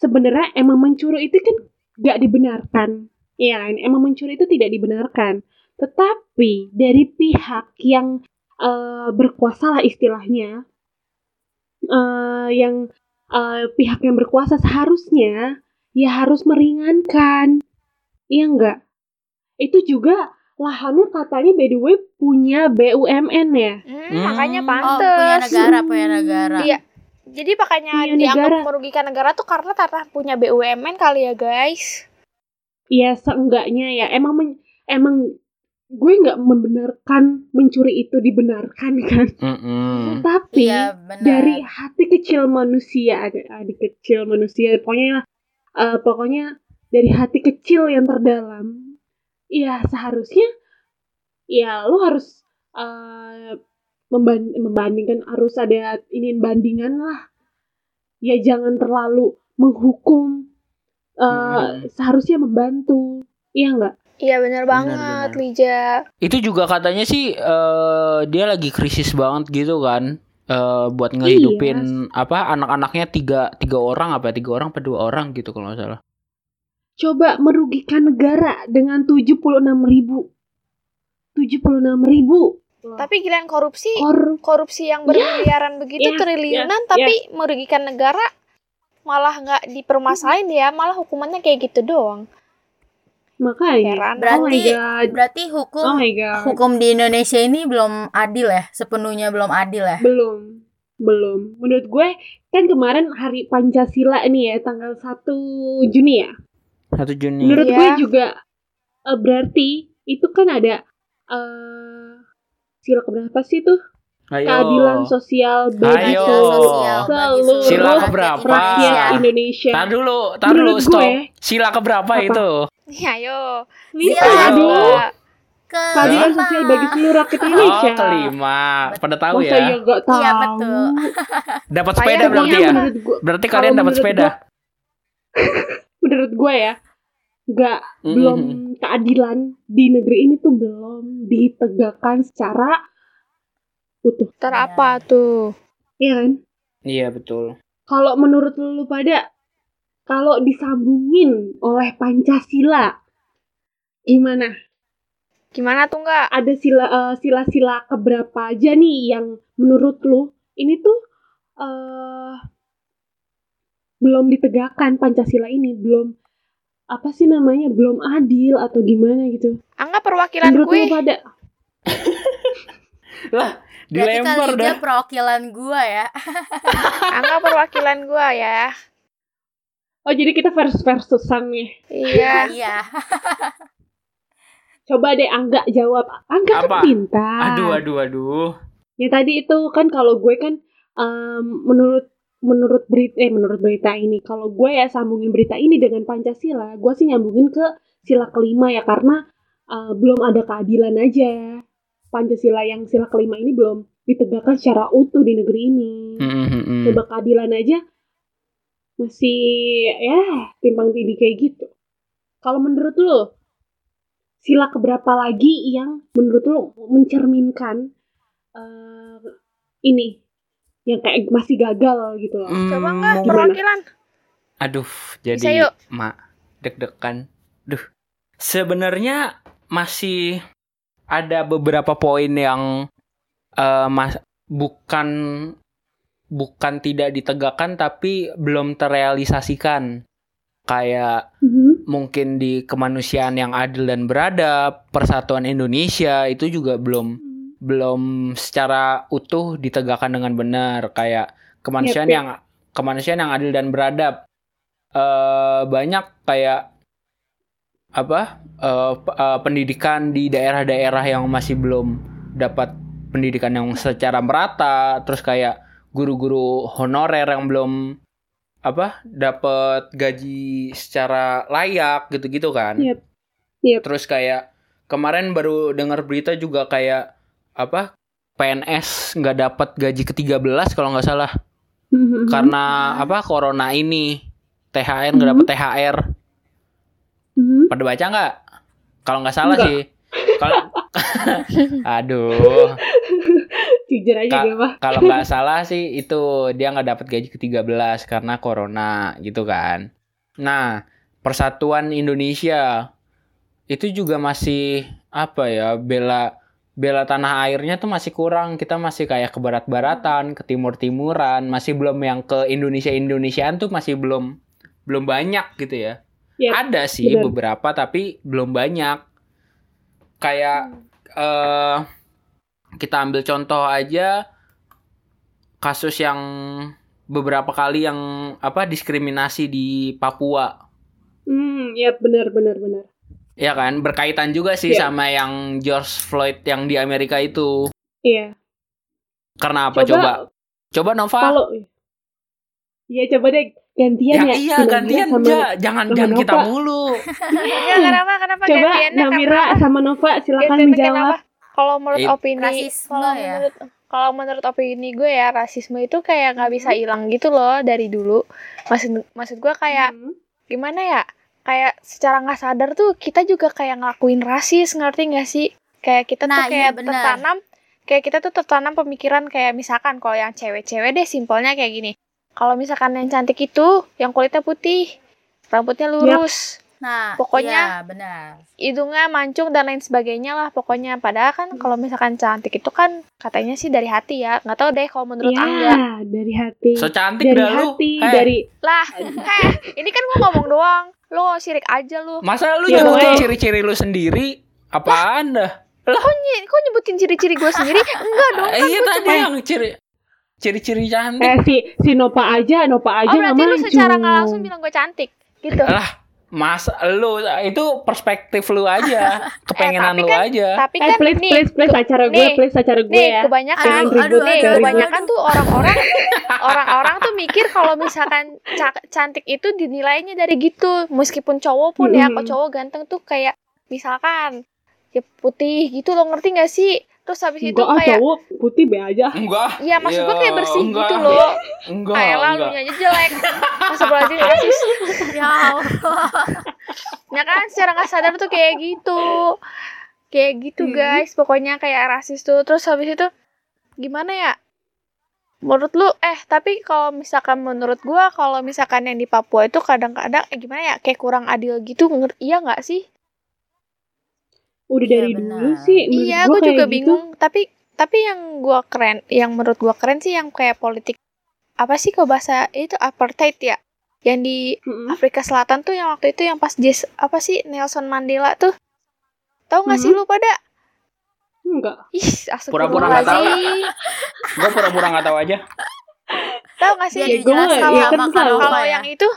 C: sebenarnya emang mencuri itu kan gak dibenarkan iya kan emang mencuri itu tidak dibenarkan tetapi dari pihak yang eh, berkuasa lah istilahnya eh, yang eh, pihak yang berkuasa seharusnya ya harus meringankan iya enggak itu juga lahannya katanya by the way punya BUMN ya
B: Hmm,
A: Hmm.
B: makanya
D: Oh, punya
B: pantes.
D: negara, punya negara.
B: Iya. Jadi makanya
C: Iya,
B: dianggap
C: negara.
B: merugikan negara tuh karena tanah punya BUMN kali ya guys.
C: ya seenggaknya ya emang men- emang gue nggak membenarkan mencuri itu dibenarkan kan
A: Mm-mm.
C: tapi
D: Iya, benar.
C: dari hati kecil manusia ada adik kecil manusia pokoknya eh, pokoknya dari hati kecil yang terdalam ya seharusnya ya lo harus eh, memban- membandingkan harus ada ini bandingan lah ya jangan terlalu menghukum eh,
A: Mm-mm.
C: seharusnya membantu iya nggak
B: Iya bener banget
A: benar.
B: Lija.
A: Itu juga katanya sih eh, dia lagi krisis banget gitu kan. Eh, buat ngehidupin apa anak-anaknya tiga tiga orang apa tiga orang apa dua orang gitu kalau nggak salah
C: coba merugikan negara dengan 76 ribu. 76 ribu.
B: Tapi giliran korupsi,
C: Kor
B: korupsi yang bermiliaran begitu
C: ya,
B: triliunan tapi merugikan negara malah nggak dipermasalahin ya, malah hukumannya kayak gitu doang.
C: makanya.
B: Heran.
C: Oh my
D: Berarti
C: god.
D: berarti
C: Oh
D: hukum
C: my god.
D: hukum di Indonesia ini belum adil ya, sepenuhnya belum adil ya.
C: Belum. Belum. Menurut gue kan kemarin hari Pancasila nih ya tanggal 1 Juni ya.
A: 1 Juni.
C: Menurut
B: Iya.
C: gue juga eh, berarti itu kan ada eh sila keberapa sih tuh?
A: Ayo.
C: Keadilan sosial bagi
A: Ayo.
D: Keadilan sosial bagi
C: Seluruh
D: seluruh
A: Sila
D: rakyat
A: keberapa?
D: Indonesia.
C: rakyat Indonesia.
A: Tar dulu, tar dulu
C: Menurut
A: stop.
C: gue-
A: Sila keberapa
C: Apa?
A: itu?
B: Ya, ayo.
C: Lima.
D: Sila.
C: Aduh.
B: Dua.
C: Keadilan
D: Kelima.
C: sosial bagi seluruh rakyat
A: Oh,
C: Indonesia.
A: kelima. Pada tahu
C: Masa ya
A: ya.
C: gak tahu.
D: Iya, betul.
A: Dapat
B: Saya
A: sepeda
B: punya
A: berarti
C: Pokoknya
A: ya.
C: menurut gue,
A: Berarti
C: Kalau
A: kalian dapat
C: menurut
A: sepeda.
C: menurut gue ya, gak
A: Mm-mm.
C: belum keadilan di negeri ini tuh belum ditegakkan secara utuh.
B: Ntar apa tuh?
C: Iya kan?
A: Iya, betul.
C: Kalau menurut lu pada kalau disambungin oleh Pancasila gimana?
B: Gimana tuh nggak?
C: Ada sila eh, sila-sila keberapa aja nih yang menurut lu ini tuh eh belum ditegakkan Pancasila ini belum apa sih namanya belum adil atau gimana gitu?
B: Angga perwakilan
C: Menurut
B: gue.
C: lu pada
A: Lah,
D: Berarti
A: dilempar
D: kali dia
A: dah.
D: perwakilan gua ya.
B: Angga perwakilan gue ya.
C: oh jadi kita versus ya? versusan nih.
B: Iya.
D: Iya.
C: Coba deh Angga jawab. Angga
A: Apa?
C: kan pintar.
A: Aduh, aduh, aduh.
C: Ya tadi itu kan kalau gue kan em, menurut menurut berita eh menurut berita ini kalau gue ya sambungin berita ini dengan Pancasila, gue sih nyambungin ke sila kelima ya karena eh, belum ada keadilan aja. Pancasila yang sila kelima ini belum ditegakkan secara utuh di negeri ini.
A: Mm, mm, mm.
C: Coba keadilan aja masih ya timpang tindih kayak gitu. Kalau menurut lo sila keberapa lagi yang menurut lo mencerminkan eh, ini yang kayak masih gagal gitu loh.
A: Mm,
B: Coba nggak
A: mau-
B: perwakilan?
A: Aduh,
B: Bisa
A: jadi
B: yuk.
A: mak deg-degan. Duh, sebenarnya masih ada beberapa poin yang eh, mas bukan bukan tidak ditegakkan tapi belum terrealisasikan. Kayak
C: Mhm.
A: mungkin di kemanusiaan yang adil dan beradab, persatuan Indonesia itu juga belum
C: Mhm.
A: belum secara utuh ditegakkan dengan benar kayak kemanusiaan
C: Yep, yep.
A: yang kemanusiaan yang adil dan beradab eh banyak kayak apa eh, p- eh, pendidikan di daerah-daerah yang masih belum dapat pendidikan yang secara merata terus kayak guru-guru honorer yang belum apa dapat gaji secara layak gitu-gitu kan
C: Yep. Yep.
A: terus kayak kemarin baru dengar berita juga kayak apa PNS nggak dapat gaji ke-13 kalau nggak salah
C: Mhm.
A: karena apa corona ini THR nggak dapat THR
C: Mhm.
A: pada baca nggak kalau nggak salah
C: Nggak.
A: sih kalau aduh
C: Jujur aja
A: Ka-
C: gue mah.
A: kalau nggak salah sih itu dia nggak dapat gaji ke-13 karena corona gitu kan. Nah, Persatuan Indonesia itu juga masih apa ya bela bela tanah airnya tuh masih kurang. Kita masih kayak ke barat-baratan, ke timur-timuran, masih belum yang ke Indonesia-Indonesiaan tuh masih belum belum banyak gitu ya.
C: Yap,
A: Ada sih
C: benar.
A: beberapa tapi belum banyak. Kayak eh kita ambil contoh aja kasus yang beberapa kali yang apa diskriminasi di Papua
C: Hmm, yep, benar benar benar.
A: ya kan berkaitan juga sih
C: Iya.
A: sama yang George Floyd yang di Amerika itu
C: Iya.
A: karena apa coba coba, Nova
C: kalau Iya coba deh
A: yang
C: gantian ya.
A: iya
C: Gantian
A: gantian
C: sama-
A: ja, jangan
C: sama
A: jangan kita
C: Nova.
A: mulu
B: Iya, kenapa? Kenapa
C: Coba
B: gantiannya?
C: Namira
B: Kenapa?
C: sama Nova silakan
B: Gantiannya
C: menjawab.
B: kenapa? Kalau menurut
A: Eh,
B: opini,
D: rasisme
B: kalau
D: ya.
B: menurut kalau menurut opini gue ya rasisme itu kayak nggak bisa hilang gitu loh dari dulu. Maksud maksud gue kayak
C: Mhm.
B: gimana ya? Kayak secara nggak sadar tuh kita juga kayak ngelakuin rasis, ngerti nggak sih? Kayak kita tuh
D: Nah, iya,
B: kayak
D: benar.
B: tertanam, kayak kita tuh tertanam pemikiran kayak misalkan kalau yang cewek-cewek deh simpelnya kayak gini. Kalau misalkan yang cantik itu yang kulitnya putih, rambutnya lurus.
D: Nah,
B: Pokoknya-
D: iya, benar.
B: hidungnya mancung dan lain sebagainya lah pokoknya padahal kan kalau misalkan cantik itu kan katanya sih dari hati ya nggak tahu deh kalau menurut
C: ya,
B: Angga
C: dari hati.
A: So cantik
C: dari
A: dah lu.
C: hati,
A: Eh,
C: dari
B: lah eh ini kan gua ngomong doang lo sirik aja lu
A: Masa lu
C: Iya,
A: nyebutin
C: weh.
A: ciri-ciri lu sendiri? Apaan dah?
B: kok, ny- kok nyebutin ciri-ciri gue sendiri enggak dong
A: Eh,
B: kan
A: iya
B: gua
A: tadi
B: cuma-
A: yang ciri ciri-ciri cantik.
C: eh si si Nopa aja, Nopa aja
B: oh berarti
C: nggak
B: lu secara
C: mancung.
B: nggak langsung bilang gue cantik gitu
A: Lah, masa lu itu perspektif lu aja, kepengenan
B: tapi
A: lu
B: kan-
A: aja.
B: tapi
C: Eh
B: kan
C: please
B: nih
C: please please acara gue,
B: nih,
C: please acara gue
B: nih
C: ya.
B: kebanyakan
D: Aduh, aduh,
B: nih
D: aduh,
B: kebanyakan
D: aduh.
B: tuh orang-orang orang-orang tuh mikir kalau misalkan ca- cantik itu dinilainya dari gitu meskipun cowok pun ya
C: Mm-mm.
B: kok cowok ganteng tuh kayak misalkan ya putih gitu lo ngerti gak sih terus habis itu
C: Enggak ah
B: kayak
C: cowok putih be aja.
A: Enggak.
B: Iya maksud gue kayak
A: Ya,
B: bersih
A: enggak.
B: gitu loh
A: Enggak.
B: Kayak lalu
C: ya.
A: enggak.
B: aja jelek Masa belajar rasis
D: Ya Allah.
B: Ya kan secara gak sadar tuh kayak gitu Kayak gitu
C: Hmm.
B: guys Pokoknya kayak rasis tuh Terus habis itu Gimana ya Menurut lu Eh tapi kalau misalkan menurut gua Kalau misalkan yang di Papua itu kadang-kadang Eh gimana ya Kayak kurang adil gitu Ngerti Iya gak sih
C: Udah
D: Iya,
C: dari
D: benar.
C: dulu sih. menurut
B: Iya
C: gua
B: gue
C: kayak
B: juga
C: gitu.
B: bingung Tapi tapi yang gua keren Yang menurut gua keren sih Yang kayak politik Apa sih kok bahasa Itu apartheid ya Yang di
C: Mm-mm.
B: Afrika Selatan tuh yang waktu itu yang pas Jess apa sih Nelson Mandela tuh tahu nggak sih
C: Hmm.
B: lu pada
C: Enggak.
B: ih
A: Pura-pura nggak tahu.
B: astagfirullahaladzim.
A: Gua pura-pura enggak tahu aja.
B: tahu nggak sih
D: Biar
C: Ya, gue-
B: ya
D: dijelasin sama
C: kan
D: Kak
C: tahu.
D: Nova
B: kalau
D: ya.
B: yang itu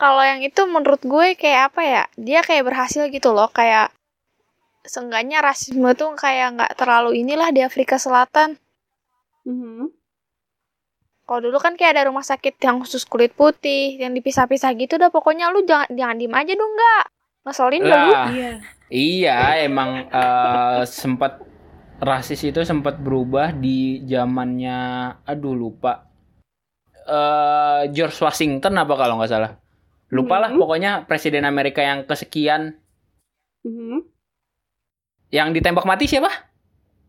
B: kalau yang itu menurut gue kayak apa ya dia kayak berhasil gitu loh kayak seenggaknya rasisme tuh kayak nggak terlalu inilah di Afrika Selatan
C: Mhm.
B: kalau dulu kan kayak ada rumah sakit yang khusus kulit putih yang dipisah-pisah gitu dah pokoknya lu jangan jangan diem aja dong nggak ngeselin dah lu
A: Lah,
C: Iya.
A: Iya, emang eh, sempat rasis itu sempat berubah di zamannya aduh lupa. eh George Washington apa kalau nggak salah. Lupa lah
C: Hmm.
A: pokoknya presiden Amerika yang kesekian
C: Mhm.
A: yang ditembak mati siapa?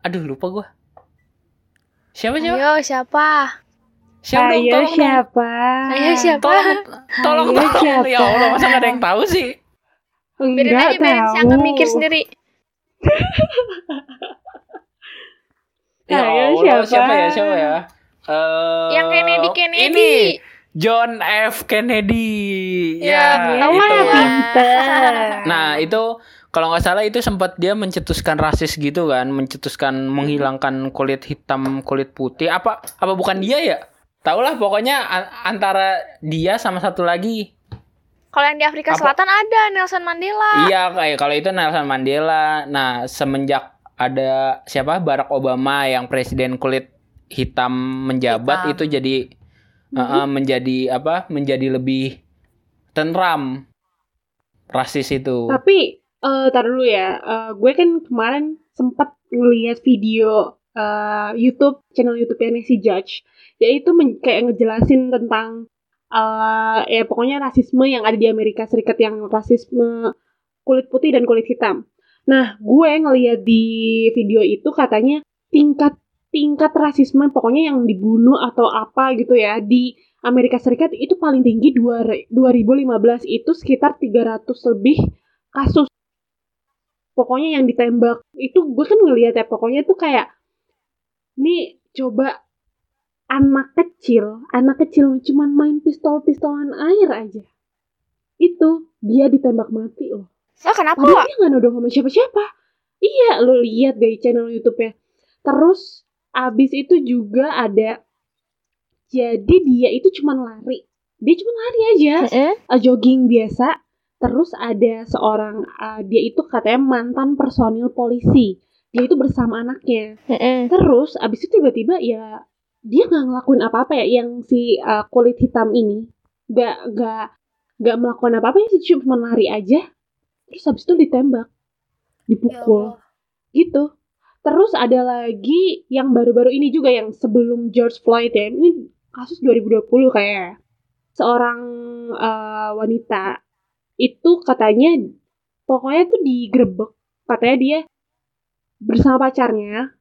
A: Aduh lupa gua. Siapa siapa?
B: ayo siapa
A: Siapa dong,
C: Ayo
A: tolong dong.
C: siapa?
B: ayo siapa
A: Tolong, tolong,
C: Ayo
A: tolong. Ya
C: siapa?
A: Allah, masa nggak ada yang tahu sih?
B: Biarin
C: Enggak
B: aja biarin si Angga
C: tahu.
B: mikir sendiri.
A: Ya
C: Ayo,
A: Allah, siapa?
C: siapa?
A: ya? Siapa ya? Eh,
B: yang Kennedy Kennedy.
A: Ini John F Kennedy.
B: Ya,
A: ya
C: gitu.
B: tahu
A: itu.
C: Oh,
B: lah.
C: iya. Pinter.
A: Nah itu kalau nggak salah itu sempat dia mencetuskan rasis gitu kan, mencetuskan menghilangkan kulit hitam kulit putih apa apa bukan dia ya? Tahulah pokoknya a- antara dia sama satu lagi.
B: Kalau yang di Afrika
A: Apa?
B: Selatan ada Nelson Mandela.
A: Iya kayak kalau itu Nelson Mandela. Nah semenjak ada siapa Barack Obama yang presiden kulit hitam menjabat
D: Hitam.
A: itu jadi eh, eh, menjadi apa? Menjadi lebih tentram rasis itu.
C: Tapi eh tar dulu ya. Eh, gue kan kemarin sempat ngelihat video eh, YouTube channel YouTube-nya si Judge, yaitu men- kayak ngejelasin tentang eh ya pokoknya rasisme yang ada di Amerika Serikat yang rasisme kulit putih dan kulit hitam. Nah, gue ngelihat di video itu katanya tingkat tingkat rasisme pokoknya yang dibunuh atau apa gitu ya di Amerika Serikat itu paling tinggi dua re- 2015 itu sekitar 300 lebih kasus. Pokoknya yang ditembak itu gue kan ngeliat ya pokoknya tuh kayak nih coba anak kecil, anak kecil cuman main pistol-pistolan air aja. Itu dia ditembak mati loh.
B: Lah Oh, kenapa?
C: Padahal dia nggak nodong sama siapa-siapa. Iya, lo lihat dari channel YouTube-nya. Terus abis itu juga ada jadi dia itu cuman lari. Dia cuman lari aja,
B: Heeh.
C: eh, jogging biasa. Terus ada seorang eh, dia itu katanya mantan personil polisi. Dia itu bersama anaknya.
B: Heeh.
C: Terus abis itu tiba-tiba ya dia nggak ngelakuin apa-apa ya yang si uh, kulit hitam ini nggak nggak nggak melakukan apa-apa ya sih cuma lari aja. Terus abis itu ditembak,
D: Ya
C: dipukul
D: Allah.
C: gitu. Terus ada lagi yang baru-baru ini juga yang sebelum George Floyd ya ini kasus 2020 kayak seorang uh, wanita itu katanya pokoknya tuh digerebek katanya dia bersama pacarnya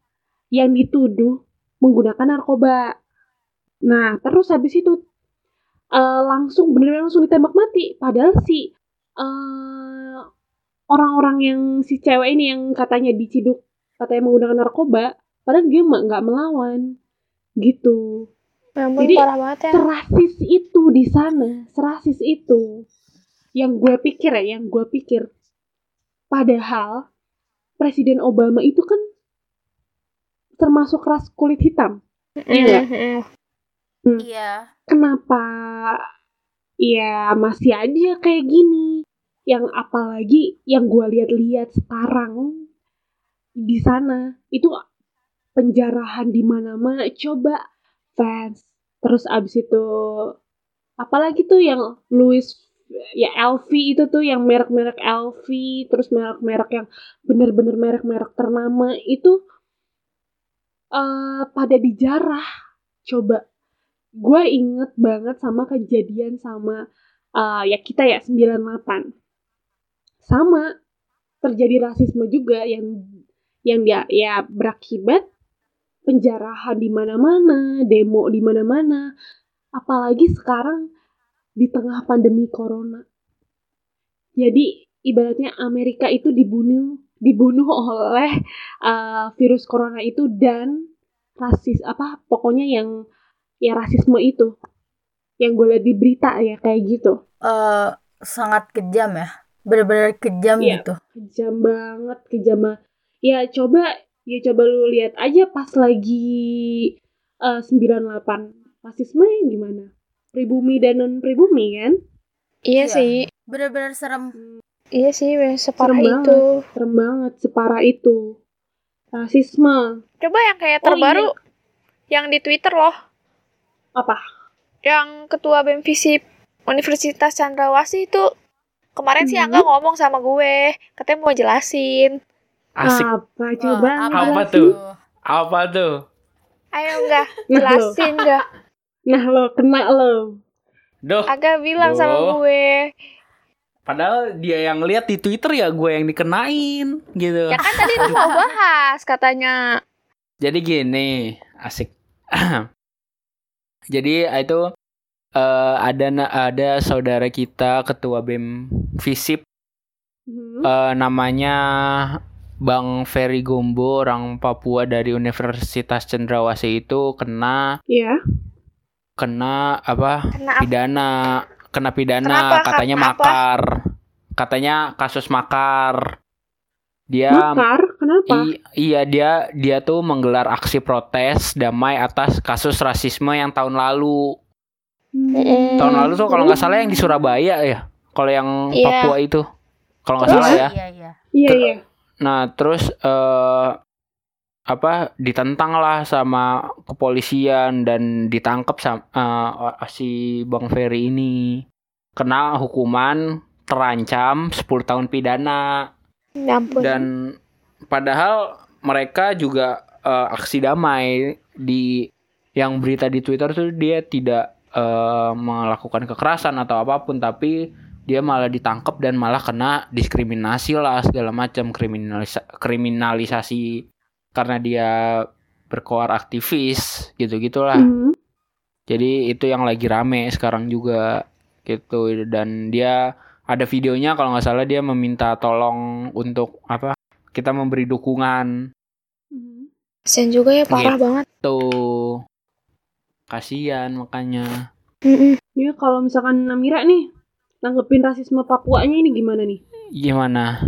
C: yang dituduh menggunakan narkoba. Nah, terus habis itu eh, langsung bener langsung ditembak mati. Padahal si eh, eh, orang-orang yang si cewek ini yang katanya diciduk katanya menggunakan narkoba padahal dia mah nggak melawan gitu
B: Ya ampun,
C: Jadi,
B: parah banget ya.
C: serasis itu di sana serasis itu yang gue pikir ya yang gue pikir padahal presiden Obama itu kan termasuk ras kulit hitam iya.
B: Mm-mm.
D: Iya.
C: kenapa ya masih aja kayak gini yang apalagi yang gue lihat-lihat sekarang di sana itu penjarahan di mana-mana coba fans terus abis itu apalagi tuh yang Louis ya LV itu tuh yang merek-merek LV terus merek-merek yang bener-bener merek-merek ternama itu eh pada dijarah coba gue inget banget sama kejadian sama eh, ya kita ya 98 sama terjadi rasisme juga yang yang dia ya berakibat penjarahan di mana-mana demo di mana-mana apalagi sekarang di tengah pandemi corona jadi ibaratnya Amerika itu dibunuh dibunuh oleh eh, virus corona itu dan rasis apa pokoknya yang ya rasisme itu yang gue lihat di berita ya kayak gitu
D: Eh, sangat kejam ya. Bener-bener kejam
C: Iya.
D: gitu.
C: kejam banget kejam banget ya coba ya coba lu lihat aja pas lagi eh, 98 rasisme gimana pribumi dan non pribumi kan
B: Iya
D: Iya.
B: sih.
D: Bener-bener serem.
B: Iya sih, bener, separah
C: Serem banget.
B: itu.
C: serem banget separah itu rasisme
B: Coba yang kayak
C: Oh,
B: terbaru yang di Twitter loh,
C: apa
B: yang ketua BEM Visip Universitas Chandrawasih itu kemarin sih
C: Mhm.
B: Angga ngomong sama gue, katanya mau jelasin.
A: Asik.
C: apa coba
D: Wah,
A: Iya, Apa
C: jelasin.
D: gitu?
A: tuh? Apa tuh?
B: Ayo enggak,
C: nah lo
B: jelasin enggak.
C: nah lo kena lo
A: Duh,
B: Angga bilang sama
A: Duh.
B: gue.
A: padahal dia yang lihat di Twitter ya gue yang dikenain gitu.
B: Ya kan tadi lu mau bahas katanya.
A: Jadi gini, asik. Jadi ah, itu eh, ada na- ada saudara kita ketua BEM Visip
C: Mhm.
A: eh, namanya Bang Ferry Gombo orang Papua dari Universitas Cendrawasih itu kena
C: ya
A: kena apa?
B: Kena apa?
A: pidana, kena pidana
B: Kenapa?
A: katanya
B: Karena apa?
A: makar. Katanya kasus makar. Dia
C: makar kenapa
A: I- iya dia dia tuh menggelar aksi protes damai atas kasus rasisme yang tahun lalu. Iya.
C: Hmm.
A: Tahun lalu tuh kalau nggak salah yang di Surabaya ya. Kalau yang
B: Iya.
A: Papua itu. Kalau nggak salah ya.
D: Iya, iya.
C: iya iya
A: Nah, terus eh apa ditentang lah sama kepolisian dan ditangkap sama eh, si Bang Ferry ini. Kena hukuman terancam 10 tahun pidana.
B: Ya ampun.
A: dan padahal mereka juga eh, aksi damai di yang berita di Twitter tuh dia tidak eh, melakukan kekerasan atau apapun tapi dia malah ditangkap dan malah kena diskriminasi lah segala macam kriminalisa- kriminalisasi karena dia berkoar aktivis gitu gitulah
C: Mhm.
A: jadi itu yang lagi rame sekarang juga gitu dan dia ada videonya kalau nggak salah dia meminta tolong untuk apa? Kita memberi dukungan
C: Mhm.
B: Kasian juga ya, parah
A: Iya.
B: banget.
A: tuh. Kasihan makanya.
B: Mm-mm.
C: Ya kalau misalkan Namira nih nanggepin rasisme Papuanya ini gimana nih?
A: Gimana?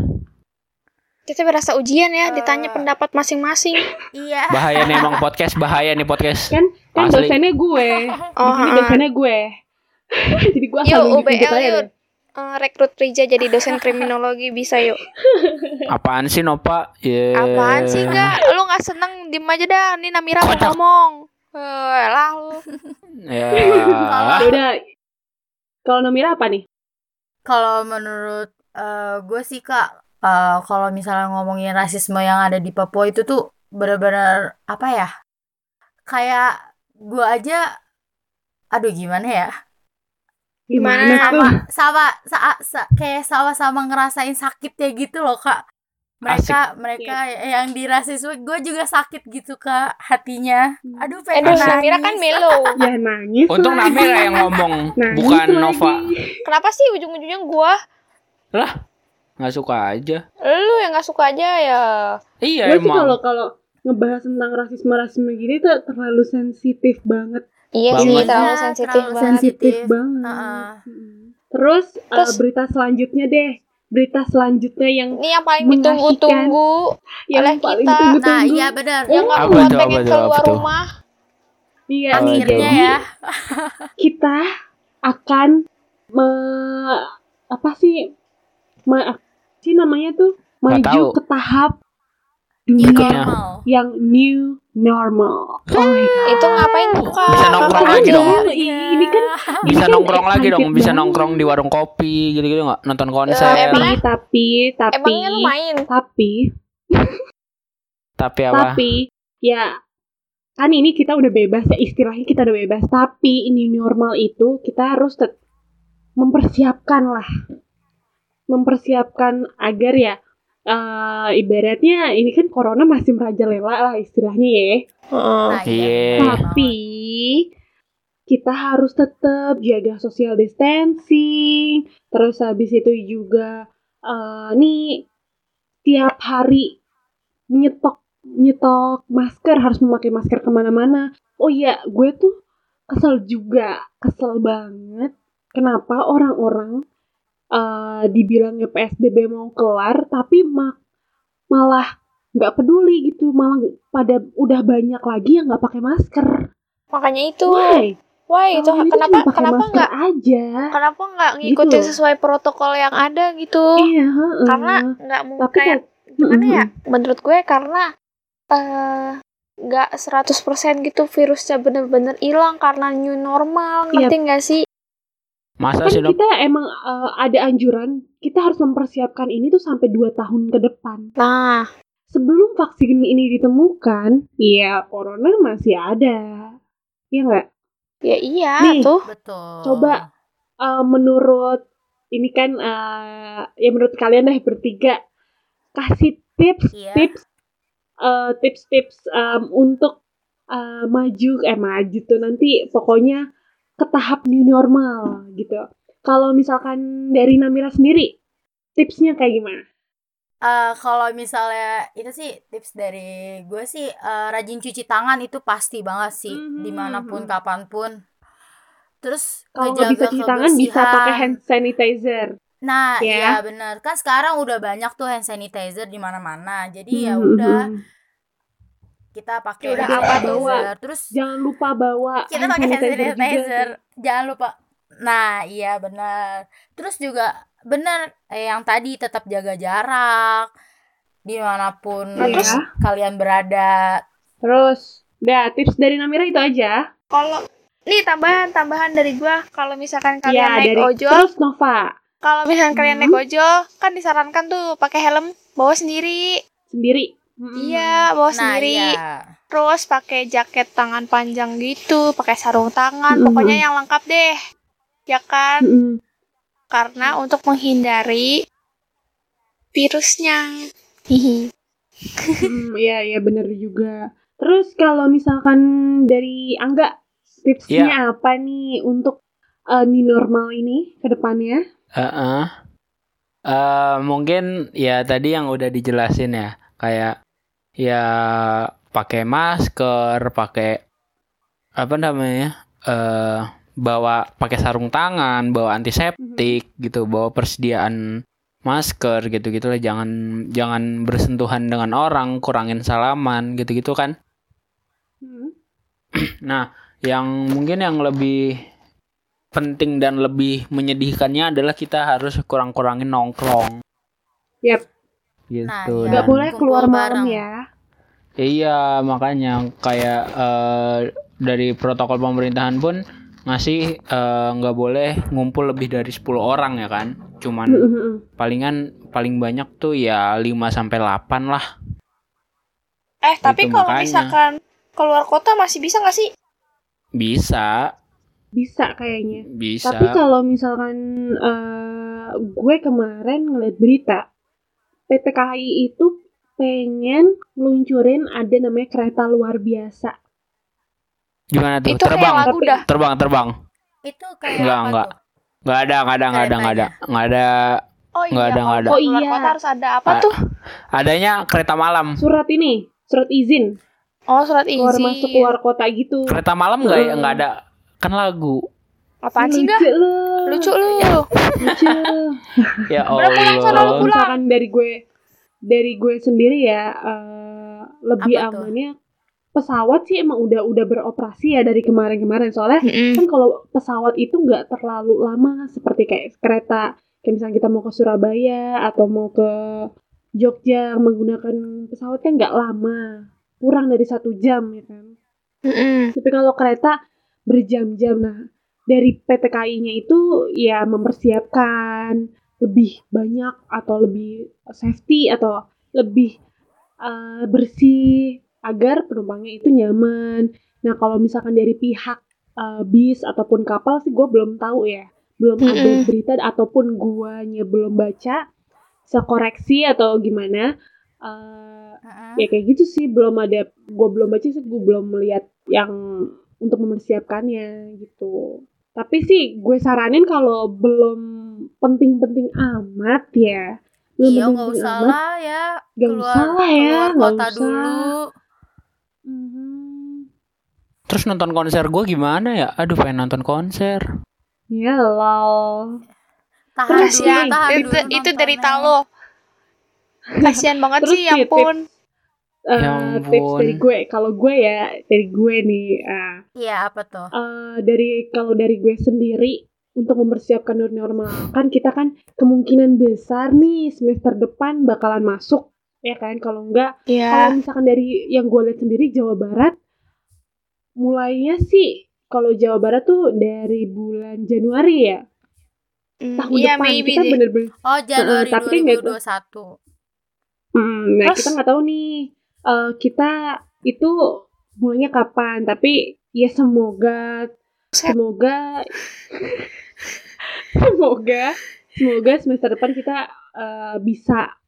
B: Kita berasa ujian ya,
D: Eh.
B: ditanya pendapat masing-masing.
D: Iya.
A: Bahaya nih emang podcast, bahaya nih podcast.
C: Kan kan
A: Asli.
C: dosennya gue.
B: Oh,
C: Ini
B: heeh.
C: dosennya gue. Jadi gue
B: Yuk,
C: asal nunjuk-nunjuk
B: UBL,
C: aja
B: yuk.
C: deh.
B: Eh, rekrut Rija jadi dosen kriminologi bisa yuk.
A: Apaan sih Nopa? Ye.
B: Apaan sih enggak? Lu nggak seneng diem aja dah. Nih Namira mau
A: Kocak.
B: ngomong. Eh, lah lu.
A: Ya.
C: Ya udah. Kalau Namira apa nih?
D: Kalau menurut eh, gue sih kak, eh, kalau misalnya ngomongin rasisme yang ada di Papua itu tuh benar-benar apa ya? Kayak gue aja, aduh gimana ya?
C: Gimana,
B: Gimana?
C: tuh?
D: Sama, sama, sa- sa- kayak sama-sama ngerasain sakit ya gitu loh kak. Mereka, mereka
C: Iya.
D: yang dirasisme, gue juga sakit gitu kak hatinya. Aduh,
B: Eh,
D: pengen
B: dosen Namira
D: nangis.
B: kan mellow.
C: Ya nangis.
A: Untung
C: lagi.
A: Namira yang ngomong,
C: Nangis
A: bukan
C: lagi.
A: Nova.
B: Kenapa sih ujung-ujungnya gua?
A: Lah, nggak suka aja.
B: Lu yang nggak suka aja ya.
A: Iya
C: Gue sih
A: emang.
C: kalau kalau ngebahas tentang rasisme rasisme gini tuh terlalu sensitif banget,
B: Iya
A: Banget.
B: sih,
A: Iya,
B: terlalu sensitif
D: terlalu
B: banget.
C: sensitif
D: Sensitif.
C: banget.
D: Heeh.
C: Mm. Terus, eh,
B: Terus-
C: berita selanjutnya deh, berita selanjutnya yang
B: Ini yang paling ditunggu-tunggu,
C: yang
B: Oleh
C: paling
B: kita.
C: tunggu-tunggu.
D: Nah, iya benar.
C: Oh,
B: yang nggak
A: Apa
B: buat
A: tuh, apa
B: pengen
A: tuh, apa
B: keluar
A: tuh?
B: rumah.
C: Iya,
A: Apa
D: Akhirnya
A: tuh?
D: ya.
C: kita akan me- apa sih? Ma, sih namanya tuh
A: Nggak
C: maju
A: tahu.
C: ke tahap
D: New
C: dunia
D: normal.
C: yang new normal. Oh my God.
B: Itu ngapain tuh, Kak?
A: Bisa nongkrong
B: Kapan
A: lagi
B: aja?
A: dong.
C: Iya, ini
D: Nah,
C: kan- Ini
A: Bisa
C: kan
A: nongkrong lagi
C: excited
A: dong, bisa
C: banget.
A: nongkrong di warung kopi gitu-gitu nggak nonton konser.
B: Eh,
C: Tapi,
B: emang-
C: tapi, tapi,
B: Emangnya lu main?
C: tapi,
A: tapi apa?
C: tapi, ya kan ini kita udah bebas ya istilahnya kita udah bebas. Tapi ini normal itu kita harus tet- mempersiapkan lah, mempersiapkan agar ya eh, ibaratnya ini kan corona masih merajalela lah istilahnya ya.
B: Heeh.
D: Nah, iya,
A: Iya.
D: benar.
C: Tapi kita harus tetap jaga social distancing. Terus habis itu juga eh, nih tiap hari nyetok nyetok masker harus memakai masker kemana-mana. Oh iya, gue tuh kesel juga, kesel banget. Kenapa orang-orang eh, dibilangnya PSBB mau kelar, tapi ma- malah nggak peduli gitu, malah pada udah banyak lagi yang nggak pakai masker.
B: Makanya itu.
C: Why?
B: Wah, itu
C: Orang itu
B: kenapa
C: cuma pakai
B: kenapa
C: masker
B: nggak
C: aja?
B: kenapa nggak ngikutin
C: loh.
B: sesuai protokol yang ada gitu?
C: Iya, heeh.
B: Karena nggak mau
C: tapi
B: kayak
C: kayak
B: gimana ya? Menurut gue karena eh nggak 100% gitu virusnya bener-bener hilang karena new normal ngerti nggak sih?
A: Masa
C: Kan
A: sih dong?
C: kita emang eh, ada anjuran kita harus mempersiapkan ini tuh sampai 2 tahun ke depan.
B: Nah,
C: Sebelum vaksin ini ditemukan, ya corona masih ada. Iya nggak?
B: ya iya
C: Nih.
B: tuh.
D: Betul.
C: Coba. Eh, menurut ini kan eh, ya menurut kalian deh bertiga kasih tips
D: Iya.
C: tips eh, tips-tips em, untuk eh, maju eh maju tuh nanti pokoknya ke tahap new normal gitu. Kalau misalkan dari Namira sendiri tipsnya kayak gimana?
D: Eh, kalau misalnya itu sih tips dari gue sih eh, rajin cuci tangan itu pasti banget sih
C: Mhm.
D: dimanapun kapanpun. Terus
C: Kalau nggak bisa
D: ngejaga
C: cuci tangan bisa pakai
D: kebersihan.
C: hand sanitizer.
D: Nah,
C: ya.
D: iya benar. Kan sekarang udah banyak tuh hand sanitizer di mana-mana. Jadi ya
C: Mhm.
D: udah kita
B: Ya
D: pakai
B: Udah
D: hand
B: apa
D: sanitizer. Terus
C: Jangan lupa bawa
D: kita pakai hand
C: juga. gitu.
D: sanitizer jangan lupa nah iya benar terus juga benar eh, yang tadi tetap jaga jarak dimanapun
C: Nah, terus?
D: kalian berada
C: Terus, udah tips dari Namira itu aja.
B: Kalau nih tambahan tambahan dari gua kalau misalkan kalian
C: ya,
B: naik
C: dari
B: ojol
C: terus Nova
B: Kalau misalnya kalian
C: Hmm.
B: naik ojol, kan disarankan tuh pakai helm bawa sendiri.
C: sendiri. Mhm.
B: Iya, bawa
D: nah
B: sendiri.
D: iya
B: Terus pakai jaket tangan panjang gitu, pakai sarung tangan,
C: Mm-mm.
B: pokoknya yang lengkap deh. Ya kan?
C: Mhm.
B: Karena untuk menghindari virusnya. Hihi.
C: Hmm, iya iya benar juga. Terus kalau misalkan dari Angga tipsnya apa nih untuk eh, new normal ini ke depannya?
A: Heeh. Eh, mungkin ya tadi yang udah dijelasin ya, kayak ya pakai masker, pakai apa namanya? eh bawa pakai sarung tangan, bawa antiseptik gitu, bawa persediaan masker gitu-gitulah jangan jangan bersentuhan dengan orang, kurangin salaman gitu-gitu kan.
C: Hmm.
A: Nah, yang mungkin yang lebih penting dan lebih menyedihkannya adalah kita harus kurang-kurangin nongkrong.
C: Yap.
A: Gitu.
D: Nah, iya.
C: Nggak
A: dan-
D: Gak
C: boleh
D: Kumpul
C: keluar malam
D: bareng.
C: ya.
A: Iya, makanya kayak eh, dari protokol pemerintahan pun ngasih eh, nggak boleh ngumpul lebih dari 10 orang ya kan. Cuman
C: Mhm.
A: palingan paling banyak tuh ya 5 sampai 8 lah.
B: Eh, tapi
A: Gitu,
B: kalau
A: makanya.
B: misalkan keluar kota masih bisa nggak sih?
A: Bisa,
C: Bisa kayaknya.
A: bisa.
C: Tapi kalau misalkan eh, gue kemarin ngeliat berita PT KAI itu pengen luncurin ada namanya kereta luar biasa.
A: Gimana tuh?
B: Itu kayak
A: Terbang,
B: lagu dah.
A: terbang, terbang.
D: itu kayak
A: Nggak,
D: apa
A: nggak.
D: tuh
A: Nggak ada, nggak ada, nggak ada, nggak ada, nggak ada
B: Oh
A: Nggak ada, nggak ada.
B: kalau
C: Oh,
B: keluar
C: iya.
B: kota harus ada apa
A: Ah.
B: tuh?
A: Adanya kereta malam.
C: Surat ini, surat izin
B: Oh, surat izin.
C: keluar masuk keluar kota gitu.
A: Kereta malam nggak ya?
C: Hmm.
A: nggak ada kan lagu.
B: Apaan sih gak?
C: Lucu lu.
B: Lucu lu.
C: Lucu.
A: Ya
B: Udah
A: Allah.
B: pulang sana, lu pulang.
C: Misalkan dari gue dari gue sendiri ya eh, lebih
D: Apa tuh?
C: amannya pesawat sih emang udah udah beroperasi ya dari kemarin-kemarin soalnya
B: Mm-mm.
C: kan kalau pesawat itu nggak terlalu lama seperti kayak kereta kayak misalnya kita mau ke Surabaya atau mau ke Jogja menggunakan pesawat kan nggak lama kurang dari satu jam ya kan
B: Mm-mm.
C: tapi kalau kereta berjam-jam nah dari PT KAI-nya itu ya mempersiapkan lebih banyak atau lebih safety atau lebih eh, bersih agar penumpangnya itu nyaman. Nah kalau misalkan dari pihak eh, bis ataupun kapal sih gue belum tahu ya, belum ada
B: Mm-mm.
C: berita ataupun guanya belum baca, bisa koreksi atau gimana. Eh, ya
D: Heeh.
C: kayak gitu sih belum ada gue belum baca sih gue belum melihat yang untuk mempersiapkannya gitu tapi sih gue saranin kalau belum penting-penting amat ya belum
D: Iya nggak
C: penting-penting
D: usah
C: amat,
D: lah ya
C: nggak
D: keluar
C: usah lah ya
D: keluar
C: nggak
D: kota
C: usah.
D: dulu.
C: Mhm.
A: Terus nonton konser gue gimana ya? Aduh pengen nonton konser.
C: ya lol
D: Tahan
C: Terus
D: dulu,
C: ya,
D: tahan
B: itu,
D: dulu
B: itu
D: nontonnya.
B: derita lo. Kasian banget
C: Terus
B: sih, ya
C: titip.
B: ampun.
C: Eh,
A: Ya
C: tips
A: ampun.
C: dari gue kalau gue ya dari gue nih ah,
D: Iya apa tuh?
C: Eh, dari kalau dari gue sendiri untuk mempersiapkan new normal kan kita kan kemungkinan besar nih semester depan bakalan masuk ya kan kalau enggak
B: Iya.
C: kalau misalkan dari yang gue lihat sendiri Jawa Barat mulainya sih kalau Jawa Barat tuh dari bulan Januari ya
B: Mm,
C: tahun
B: Iya,
C: depan
B: maybe
C: kita
B: deh.
C: bener-bener
D: Oh Januari
C: tapi kan nggak
D: 2021.
C: Hmm, nah
B: Terus?
C: kita nggak tahu nih eh, kita itu mulainya kapan tapi ya semoga
B: Set.
C: semoga semoga semoga semester depan kita eh, bisa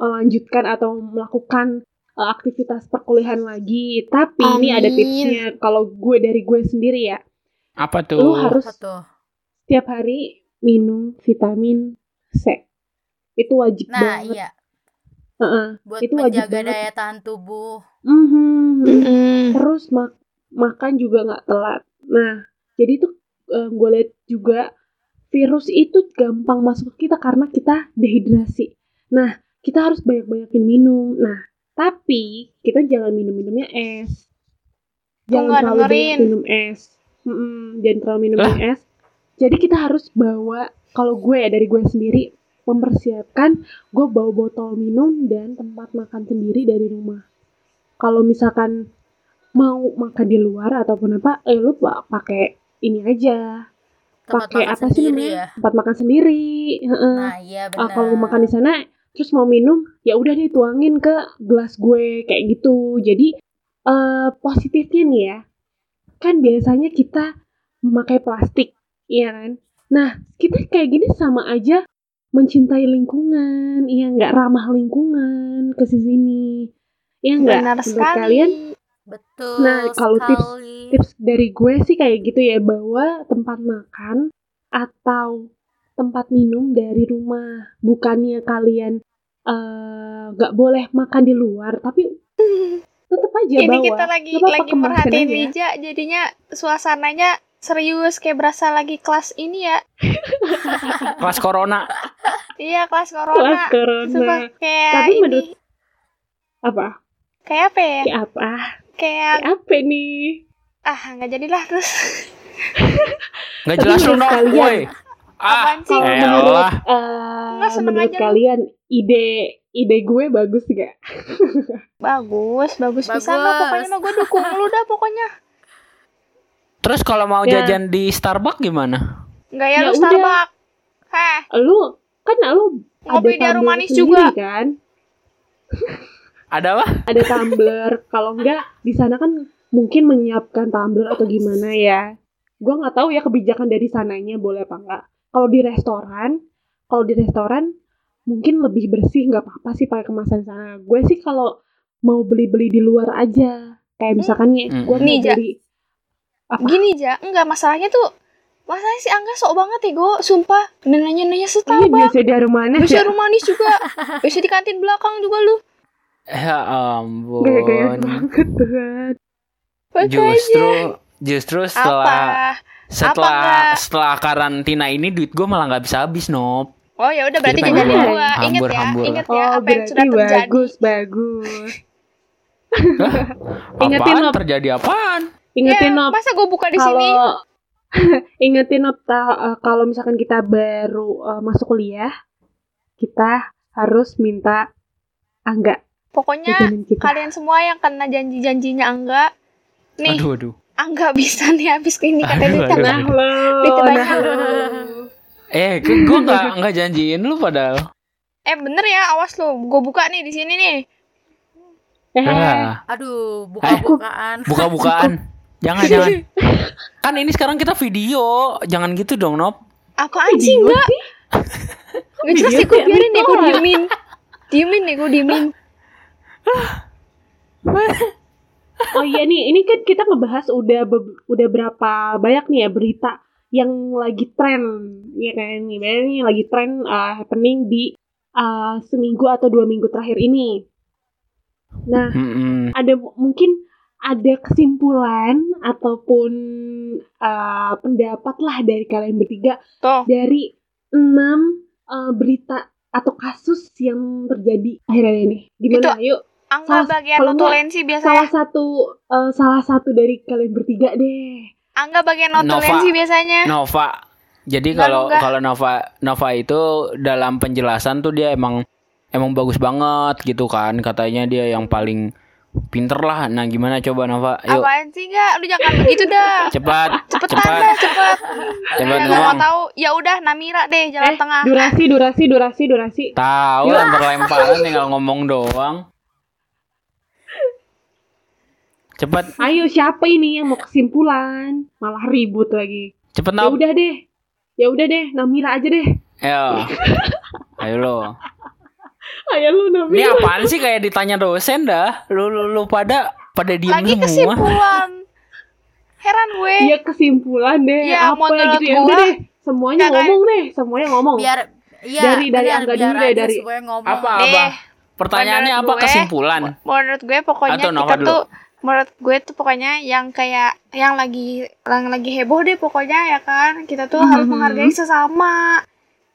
C: melanjutkan atau melakukan eh, aktivitas perkuliahan lagi tapi ini ada
B: Amin.
C: tipsnya kalau gue dari gue sendiri ya
A: Apa tuh?
C: lu harus
D: Apa tuh?
C: setiap hari minum vitamin C itu wajib
D: Nah
C: banget
D: iya
C: Heeh.
D: buat
C: Itu wajib
D: menjaga
C: banget.
D: daya tahan tubuh.
C: Mhm.
B: Mm-mm.
C: terus mak- makan juga nggak telat. Nah, jadi tuh eh, gue lihat juga virus itu gampang masuk ke kita karena kita dehidrasi. Nah, kita harus banyak-banyakin minum. Nah, tapi kita jangan minum-minumnya es. Jangan
B: nggak
C: terlalu banyak
B: dengerin.
C: minum es. Mm-mm, jangan terlalu minum es. Jadi kita harus bawa kalau gue ya dari gue sendiri mempersiapkan gue bawa botol minum dan tempat makan sendiri dari rumah. Kalau misalkan mau makan di luar ataupun apa, eh lu pa- pakai ini aja,
D: Tempat
C: pakai
D: makan
C: apa sih
D: sendiri
C: namanya?
D: ya.
C: Tempat makan sendiri. Heeh.
D: Nah iya
C: Ah,
D: benar.
C: kalau makan di sana, terus mau minum, ya udah deh tuangin ke gelas gue kayak gitu. Jadi eh positifnya nih ya, kan biasanya kita memakai plastik, iya kan? Nah kita kayak gini sama aja mencintai lingkungan, iya nggak ramah lingkungan ke sini, iya nggak?
B: Benar
C: Menurut
B: sekali.
C: kalian
D: Betul.
C: Nah, kalau tips-
D: sekali.
C: tips dari gue sih kayak gitu ya bawa tempat makan atau tempat minum dari rumah bukannya kalian eh, nggak boleh makan di luar tapi tetap aja
B: Ini
C: bawa
B: kita lagi
C: Nggak apa-apa,
B: lagi
C: kemasin
B: merhatiin
C: aja.
B: Lija, jadinya suasananya serius kayak berasa lagi kelas ini ya.
A: Kelas corona.
B: Iya, kelas
C: kelas
B: corona.
C: corona
B: Sumpah, kayak
C: Tapi
B: ini.
C: menurut- apa
B: Kayak apa ya?
C: kayak apa
B: Kayak
C: kayak apa nih
B: ah nggak jadilah terus.
A: Nggak
C: Tapi
A: jelas lu
C: menurut
A: Nok.
C: kalian-
A: Woi. Ah,
B: Apaan sih?
C: kalau
A: Elah.
C: menurut eh,
B: Nggak, seneng
C: menurut
B: aja lu.
C: kalian ide ide gue bagus gak
B: Bagus, bagus, pisan lah
D: Bagus.
B: pokoknya mah gue dukung lu dah pokoknya.
A: terus kalau mau
C: Ya.
A: jajan di Starbucks gimana?
B: Nggak ya,
C: Ya
B: lu
C: udah.
B: Starbucks. Heh,
C: lu kan lu
B: Ngopi di
C: ada
B: harum
C: tabel
B: manis
C: sendiri
B: juga.
C: kan
A: Ada apa?
C: ada tumbler kalau enggak di sana kan mungkin menyiapkan tumbler atau gimana
B: Iya.
C: ya gue nggak tahu ya kebijakan dari sananya boleh apa enggak kalau di restoran kalau di restoran mungkin lebih bersih nggak apa-apa sih pakai kemasan sana gue sih kalau mau beli-beli di luar aja kayak misalkan nih
A: Hmm.
C: gue
B: Nih,
C: mau
B: Ja.
C: beli
B: gini aja. Enggak, masalahnya tuh Masanya si Angga sok banget ya, Go. Sumpah, nanya-nanya
C: Ini
B: setahun.
C: biasa di mana
B: Bisa
C: ya?
B: rumah manis juga. Bisa di kantin belakang juga lu.
A: Ya
C: Gaya-gaya
A: ampun.
C: banget Tuhan.
B: Makanya.
A: Justru justru setelah
B: apa?
A: setelah
B: nggak?
A: setelah karantina ini duit gue malah nggak bisa habis nob.
B: Oh ya udah berarti
A: Jadi
B: jajan
C: pengen
B: gua.
A: hambur-
B: Ingat ya,
A: hambur.
B: ingat ya
C: Oh,
B: apa yang
C: berarti
B: sudah terjadi.
C: bagus, bagus. Ingetin,
A: Apaan
C: Nob.
A: terjadi apaan?
C: Ingetin
B: Ya,
C: Nob,
B: masa gue buka di sini?
C: kalau ingetin Nob, ta- eh, kalau misalkan kita baru eh, masuk kuliah, kita harus minta angga
B: Pokoknya
C: jajanan kita.
B: kalian semua yang kena janji-janjinya Angga, nih
A: Aduh aduh.
B: Angga bisa nih habis ini katanya
A: Aduh,
B: duit Angga.
C: Nah lo,
B: Dikit aja.
C: nah lo.
A: Eh, gue nggak nggak janjiin lu padahal.
B: Eh bener ya, awas lu. Gue buka nih di sini nih.
C: Eh,
A: Ah,
D: Aduh, buka-bukaan.
A: buka-bukaan. Jangan jangan. Kan ini sekarang kita video, jangan gitu dong Nob.
B: Apa anjing
C: video
B: enggak?
C: sih?
B: Gak jelas
C: Video
B: sih gue
C: kayak
B: biarin nih, gue
C: gitu.
B: diemin. Diemin nih, gue diemin.
C: Oh iya nih, ini kan kita ngebahas udah be- udah berapa banyak nih ya berita yang lagi tren, ya kan? Nih banyak nih yang lagi tren eh, happening di eh, seminggu atau dua minggu terakhir ini. Nah,
A: Mm-mm.
C: ada m- mungkin ada kesimpulan ataupun eh, pendapat lah dari kalian bertiga
B: Tuh.
C: dari enam eh, berita atau kasus yang terjadi akhirnya ini. Gimana? Yuk,
B: Angga
C: Salah-
B: bagian
C: kalau enggak,
B: notulensi biasanya.
C: salah satu eh, salah satu dari kalian bertiga deh.
B: Angga bagian
A: Nova.
B: notulensi biasanya.
A: Nova. Jadi
B: Enggak,
A: kalau
B: enggak.
A: kalau Nova Nova itu dalam penjelasan tuh dia emang emang bagus banget gitu kan. Katanya dia yang paling pinter lah. Nah, gimana coba Nova? Yuk,
B: Apaan sih enggak? Lu jangan begitu dah.
A: cepat,
B: Cepetan
A: cepat,
B: dah, cepet.
A: cepat
B: Nggak mau
A: ngomong.
B: tahu. Ya udah Namira deh jalan
C: Eh,
B: tengah.
C: Durasi, durasi, durasi, durasi.
A: Tahu
C: Yuk.
A: lempar lemparan tinggal ngomong doang. Cepat,
C: Ayo siapa ini yang mau kesimpulan? Malah ribut lagi.
A: cepat
C: Ya
A: Nov.
C: udah deh. Ya udah deh, Namira aja deh.
A: Ayo. Ayo lo.
C: Ayo lu
A: Ini
C: Namira.
A: apaan sih kayak ditanya dosen dah? Lu lu, lu pada pada diem
B: Lagi
A: semua.
B: kesimpulan. Heran gue.
C: Ya kesimpulan deh.
B: Ya,
C: apa
B: menurut
C: gitu ya
B: gua,
C: udah deh. Semuanya
B: ya kan?
C: ngomong deh, semuanya ngomong.
D: Biar ya,
C: Dari- dari
D: benar,
C: Angga
D: biar
C: dulu deh,
D: aja
C: dari-
D: semuanya ngomong.
A: Apa,
B: Nih.
A: Abang? Pertanyaannya
B: Menurut
A: apa
B: gue-
A: kesimpulan?
B: Menurut gue pokoknya
A: Atau Nova
B: kita
A: dulu.
B: tuh menurut gue tuh pokoknya yang kayak yang lagi yang lagi heboh deh pokoknya ya kan. Kita tuh harus
C: Mhm.
B: menghargai sesama.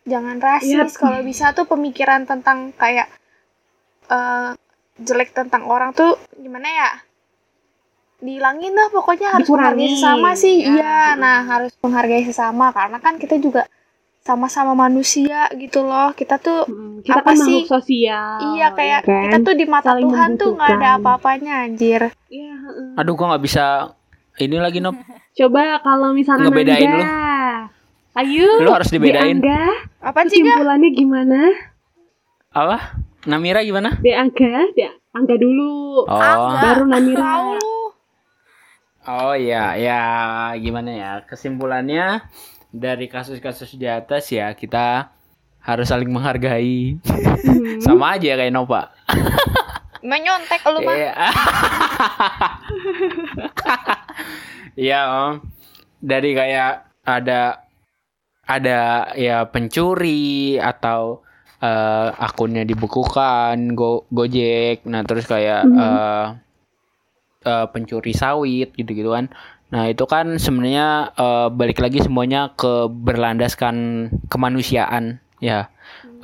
B: Jangan rasis
C: Yap.
B: kalau bisa tuh pemikiran tentang kayak eh, jelek tentang orang tuh gimana ya? Dihilangin lah pokoknya harus menghargai
C: Dikurangin.
B: sesama sih.
D: Ya.
B: Iya, nah harus menghargai sesama karena kan kita juga sama-sama manusia gitu loh. Kita tuh
C: Hmm, kita
B: Apa
C: kan
B: sih?
C: makhluk sosial.
B: Iya kayak
C: ya kan?
B: kita tuh di mata
C: Saling
B: Tuhan tuh nggak ada
C: membutuhkan.
B: apa-apanya anjir.
C: Iya, heeh.
A: Aduh, gua nggak bisa. Ini lagi Nob.
C: Coba kalau misalkan
A: Ngebedain
C: Angga.
A: lu.
C: Ayo.
A: Lu harus dibedain.
C: Angga,
B: Apaan sih gak?
C: kesimpulannya gimana?
A: Apa? Namira gimana?
C: Di Angga, di Angga dulu.
A: Oh,
D: Angga.
C: Baru
B: Tahu
C: Namira.
B: lu.
A: oh ya, ya gimana ya? Kesimpulannya dari kasus-kasus di atas ya kita harus saling menghargai.
C: Hmm.
A: Sama aja kayak Nova.
B: Menyontek lu mah.
A: Iya. Iya, Om. Dari kayak ada ada ya pencuri atau eh, akunnya dibekukan Go- Gojek. Nah, terus kayak
C: Mhm.
A: eh, eh, pencuri sawit gitu-gitu kan. Nah, itu kan sebenarnya eh, balik lagi semuanya ke berlandaskan kemanusiaan, ya.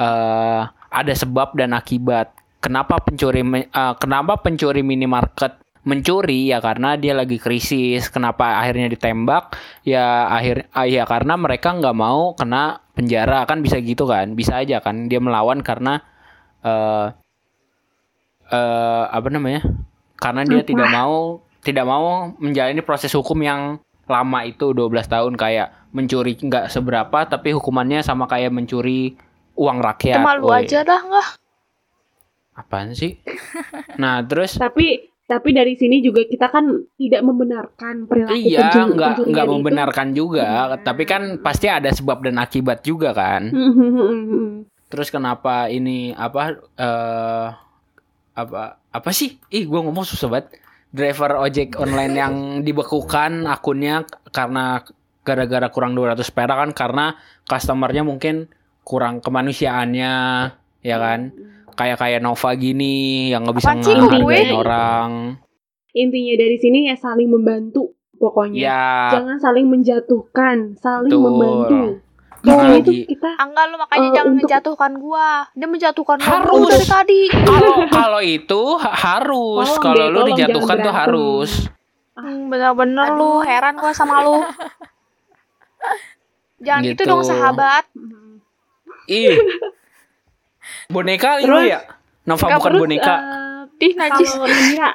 A: eh ada sebab dan akibat. Kenapa pencuri me- eh, kenapa pencuri minimarket mencuri ya karena dia lagi krisis. Kenapa akhirnya ditembak? Ya akhir ah, ya karena mereka nggak mau kena penjara kan bisa gitu kan? Bisa aja kan dia melawan karena eh eh, apa namanya? Karena dia
C: Apa?
A: tidak mau tidak mau menjalani proses hukum yang lama itu 12 tahun kayak mencuri nggak seberapa tapi hukumannya sama kayak mencuri uang rakyat.
B: Cuma lu
A: Woi.
B: aja dah nggak.
A: Apaan sih? Nah, terus
C: Tapi tapi dari sini juga kita kan tidak membenarkan perilaku
A: iya
C: pencuri-
A: nggak
C: pencurian
A: nggak
B: gitu.
C: itu.
A: membenarkan juga,
C: Iya.
A: tapi kan pasti ada sebab dan akibat juga kan.
C: Hmm, hmm, hmm, hmm.
A: Terus kenapa ini apa eh apa apa sih? Ih, gua ngomong susah banget. Driver ojek online yang dibekukan akunnya k- karena gara-gara kurang 200 perak kan karena customernya mungkin kurang kemanusiaannya ya kan kayak kayak Nova gini yang nggak bisa
B: Apaan sih,
A: ngehargain
B: gue?
A: orang
C: Intinya dari sini ya saling membantu pokoknya.
A: ya
C: Jangan saling menjatuhkan, saling
A: Betul.
C: membantu.
A: Jangan
C: Kalau itu
A: lagi-
C: kita
B: Angga lu makanya
C: Eh,
B: jangan
C: untuk-
B: menjatuhkan gua. Dia menjatuhkan gua
A: Harus.
B: mulu dari tadi.
A: kalau kalau itu ha- harus
C: Tolong
A: kalau
C: deh,
A: lu
C: tolong
A: dijatuhkan
C: jangan
A: tuh
C: berantem.
A: harus
B: Hmm, Bener-bener lu,
D: Aduh.
B: heran gua sama lu. Jangan gitu.
A: Gitu.
B: dong sahabat.
C: Hmm.
A: ih boneka
C: Terus?
A: ini ya Nova
C: Nggak,
A: bukan
C: terus,
A: boneka
C: eh,
B: Ih, najis.
C: kalau Namira,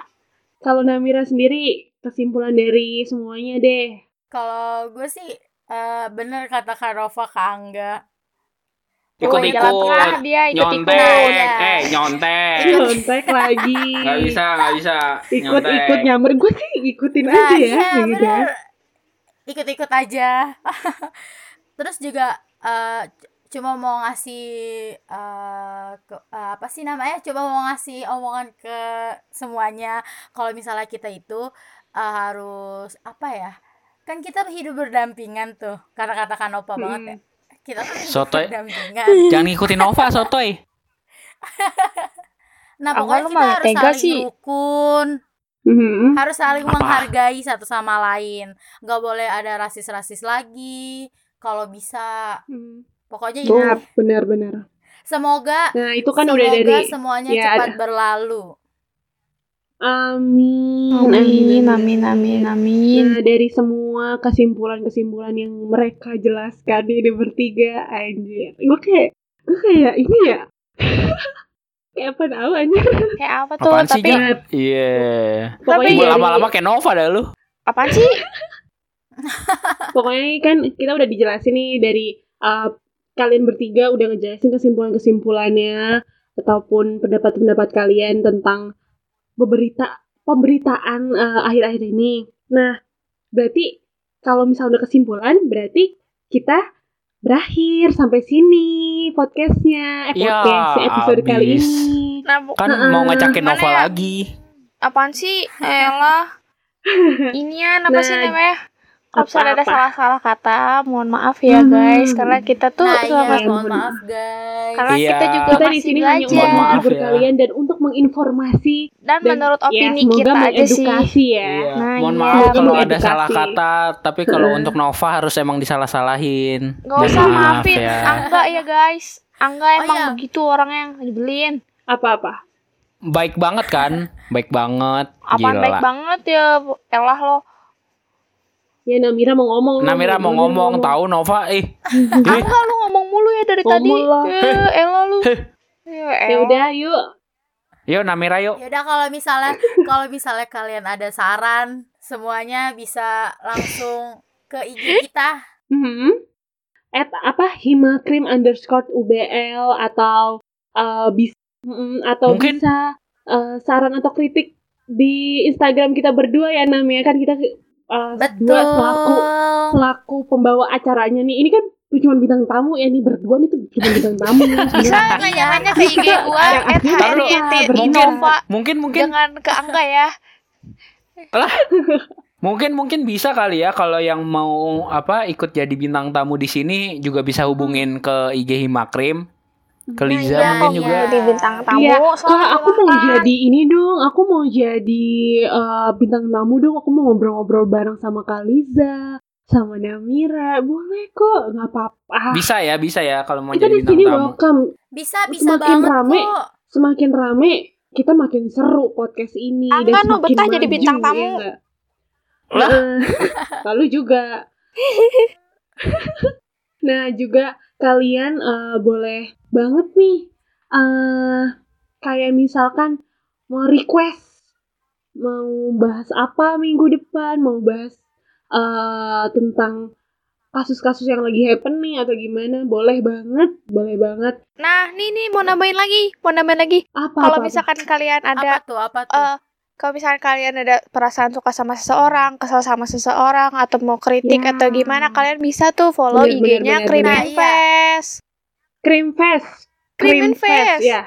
C: kalau Namira sendiri kesimpulan dari semuanya deh.
D: Kalau gue sih eh, bener kata Kak Rova Kak Angga.
B: Gua jalan oh, iya, tengah, Nah,
A: ikut-ikut
B: dia ikut
A: nyontek
B: ikut.
A: eh nyontek
C: Nyontek lagi.
A: nggak bisa nggak bisa
C: Ikut-ikut
A: nyontek.
C: nyamber gue sih ikutin
D: Nah,
C: aja ya,
D: iya,
C: gitu ya.
B: kan.
D: bener. Ikut-ikut aja. Terus juga eh, c- cuma mau ngasih eh, ke- eh, apa sih namanya? Cuma mau ngasih omongan ke semuanya kalau misalnya kita itu eh, harus apa ya? Kan kita hidup berdampingan tuh. Karena kata Kanopa banget ya. Kita tuh hidup
A: Sotoy.
D: berdampingan.
A: jangan ngikutin Nova sotoy
D: Nah,
B: Awal
D: pokoknya
B: lu
D: kita
B: malah
D: harus
B: tega
D: saling
B: sih.
D: rukun.
C: Mhm.
D: harus saling
A: Apa?
D: menghargai satu sama lain nggak boleh ada rasis rasis lagi kalau bisa
C: Mhm.
D: pokoknya
B: Tuh.
D: ini
C: Nah, benar-benar.
D: semoga
C: Nah, itu kan
D: semoga
C: udah dari
D: semuanya
B: iya,
C: ya,
D: cepat berlalu
C: Amin.
B: Amin, amin, amin, amin.
C: Nah, dari semua kesimpulan-kesimpulan yang mereka jelaskan di bertiga, anjir. Gue kayak, gue kayak ini ya. kayak apa tau anjir.
B: Kayak apa tuh?
A: Apaan sih,
B: Tapi
A: Jack? iya
B: Tapi
A: Ibu
B: Jadi-
A: lama-lama kayak Nova dah lu
B: apaan sih?
C: pokoknya ini kan kita udah dijelasin nih dari uh, kalian bertiga udah ngejelasin kesimpulan-kesimpulannya ataupun pendapat-pendapat kalian tentang beberita pemberitaan uh, akhir-akhir ini. Nah, berarti kalau misalnya udah kesimpulan, berarti kita berakhir sampai sini podcastnya, eh,
A: Ya,
C: podcast episode kali
A: abis.
C: ini.
B: Nah, bu-
A: kan
C: Heeh.
A: mau ngecakin
B: Mana
A: Nova
B: ya?
A: lagi
B: apaan sih? Elah. Inian apa
C: Nah,
B: sih namanya? Kalau
C: apa-apa.
B: misalnya ada salah-salah kata, mohon maaf ya guys,
C: Hmm.
B: karena kita tuh
D: nah
B: sama-
D: iya mohon maaf guys
B: karena
A: Iya.
B: kita juga
C: Kita di
B: masih
C: sini hanya untuk
B: belajar
A: Mohon maaf
C: menghibur
A: ya.
C: kalian dan untuk menginformasi
B: dan
C: dan
B: menurut opini
C: ya, semoga
B: kita aja sih.
C: mengedukasi ya.
A: Iya.
B: Nah,
A: Mohon
B: iya.
A: maaf kalau
C: Mungkin
A: ada
C: edukasi.
A: salah kata, tapi kalau untuk Nova harus emang disalah-salahin.
B: Gak
A: Mohon
B: usah
A: maaf
B: maafin
A: ya.
B: Angga ya guys. Angga
D: Oh,
B: emang
D: iya.
B: begitu orangnya yang dibeliin.
C: Apa-apa.
A: Baik banget kan? Baik banget.
B: Apaan
A: Gila.
B: baik banget ya, Bu. elah lo.
C: Ya Namira mau ngomong. lu.
A: Namira mau
C: Namira
A: ngomong, tahu Nova eh. eh,
B: Angga lu ngomong mulu ya dari
C: Ngomong
B: tadi.
C: lah.
B: Eh, elah lu.
A: Heh.
B: Ya
C: Ya
B: elah.
C: udah yuk.
A: Yuk Namira yuk.
D: yaudah kalau misalnya kalau misalnya kalian ada saran semuanya bisa langsung ke IG kita
C: Mhm. At apa himakrim underscore ubl atau eh, bisa mm, atau
A: Mungkin-
C: bisa eh, saran atau kritik di Instagram kita berdua ya Nam ya kan kita eh,
D: betul
C: dua selaku selaku pembawa acaranya nih ini kan cuma bintang tamu ya nih berdua nih tuh cuma bintang tamu ya.
B: Bisa
C: Sebenarnya.
B: nggak
D: Nah, iya,
B: nanya-nanya ke IG gua
C: Ada
B: at
C: akun
A: Taruh,
B: HRYT
A: mungkin.
B: Innova.
A: Mungkin mungkin
B: Jangan ke Angga ya.
A: mungkin mungkin bisa kali ya kalau yang mau apa ikut jadi bintang tamu di sini juga bisa hubungin ke IG Himakrim. Ke Liza
D: iya,
A: mungkin
D: iya.
A: juga.
B: Di bintang tamu.
C: Iya,
B: soalnya
C: Wah, aku mau jadi ini dong. Aku mau jadi eh, bintang tamu dong. Aku mau ngobrol-ngobrol bareng sama Kaliza, sama Namira. Boleh kok, nggak apa-apa.
A: Bisa ya, bisa ya kalau mau
C: Kita
A: jadi
C: di
A: bintang
C: sini
A: tamu.
C: welcome.
D: bisa bisa
C: Semakin
D: banget
C: rame.
D: kok
C: Semakin rame, kita makin seru podcast ini
B: Ah,
C: dan
B: kan lo
C: semakin
B: betah jadi
C: maju,
B: bintang
C: ya
B: tamu.
C: nggak?
A: Lah.
C: Nah, Lalu juga. nah, juga kalian eh, boleh banget nih eh kayak misalkan mau request mau bahas apa minggu depan, mau bahas eh, tentang kasus-kasus yang lagi happening atau gimana, boleh banget, boleh banget.
B: Nah, nih nih mau nambahin lagi, mau nambahin lagi.
C: Apa?
B: Kalau
C: apa, apa?
B: misalkan kalian ada
D: apa tuh apa tuh
B: eh kalau misalnya kalian ada perasaan suka sama seseorang, kesel sama seseorang, atau mau kritik
C: Ya.
B: atau gimana, kalian bisa tuh follow
C: Bener, bener,
B: IG-nya
C: bener,
B: Cream
D: bener.
B: and Fest.
A: Iya.
C: Cream Fest.
B: Cream and Fest.
C: Ya.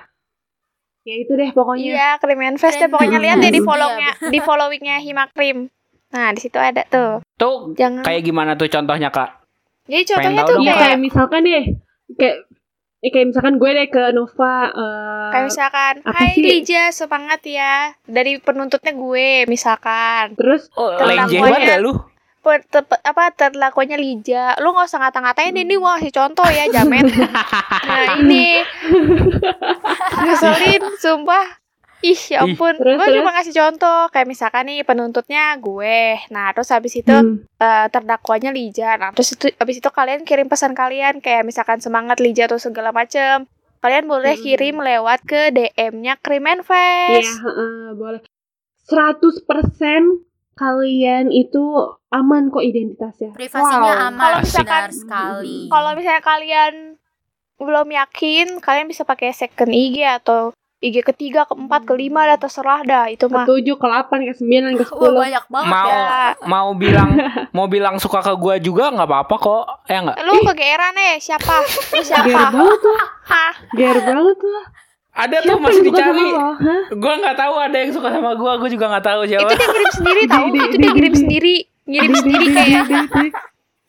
C: Ya itu deh pokoknya.
B: Iya, Cream and Fest deh.
D: Cream
B: Pokoknya
D: and
A: Iya,
B: lihat deh di
D: Fest.
B: follownya, di followingnya Hima Cream. Nah, di situ ada tuh.
A: Tuh
B: Jangan.
A: Hmm. kayak gimana tuh contohnya kak?
B: Jadi contohnya
A: tahu
B: tuh
A: dong,
C: Iya,
B: kayak,
C: kayak misalkan deh, kayak eh, kayak misalkan gue deh ke Nova eh,
B: kayak misalkan,
C: apa
B: "Hai
C: sih?
B: Lija, semangat ya." Dari penuntutnya gue misalkan.
C: terus
A: Oh,
B: Tentang
A: lenjeh
B: monyet.
A: banget ya lu.
B: Per- ter- apa terlakuannya Lija lu nggak usah ngata-ngatain ini
C: Hmm.
B: gua kasih contoh ya jamet nah ini ngeselin sumpah ih ya
A: Ih.
B: ampun
C: Terus,
B: gue cuma
C: terus?
B: ngasih contoh kayak misalkan nih penuntutnya gue nah terus habis itu
C: hmm,
B: eh, terdakwanya Lija nah terus itu habis itu kalian kirim pesan kalian kayak misalkan semangat Lija atau segala macem kalian boleh
C: Hmm.
B: kirim lewat ke DM-nya Krimen
C: iya,
B: Fest
C: heeh, boleh. 100% kalian itu aman kok identitasnya.
D: Privasinya aman,
B: Kalau
D: benar
B: misalkan-
D: sekali.
B: Kalau misalnya kalian belum yakin, kalian bisa pakai second IG atau IG ketiga, keempat,
C: Hmm.
B: kelima, dah terserah dah itu
C: Ke
B: mah.
C: 7, ke 8, ke 9, ke
D: Wah,
C: 10.
D: banyak banget
A: Mau.
D: ya.
A: Mau bilang mau bilang suka ke gua juga nggak apa-apa kok. Ya enggak.
B: Lu kegeeran eh siapa? Lu
C: Ger
B: siapa?
C: banget lah,
B: Hah?
C: ger banget lah.
A: Ada tuh
C: Siapa
A: masih
C: yang suka sama
A: dicari.
C: lo? Hah?
A: Gua nggak tahu ada yang suka sama gua, gua juga nggak tahu
B: Itu
A: siapa.
B: dia ngirim sendiri
C: Di-
B: tahu, itu
C: di-
B: dia
C: di- di-
B: ngirim
C: di-
B: sendiri, ngirim
C: Di- di-
B: sendiri
C: di- di-
B: kayak.
C: di- di-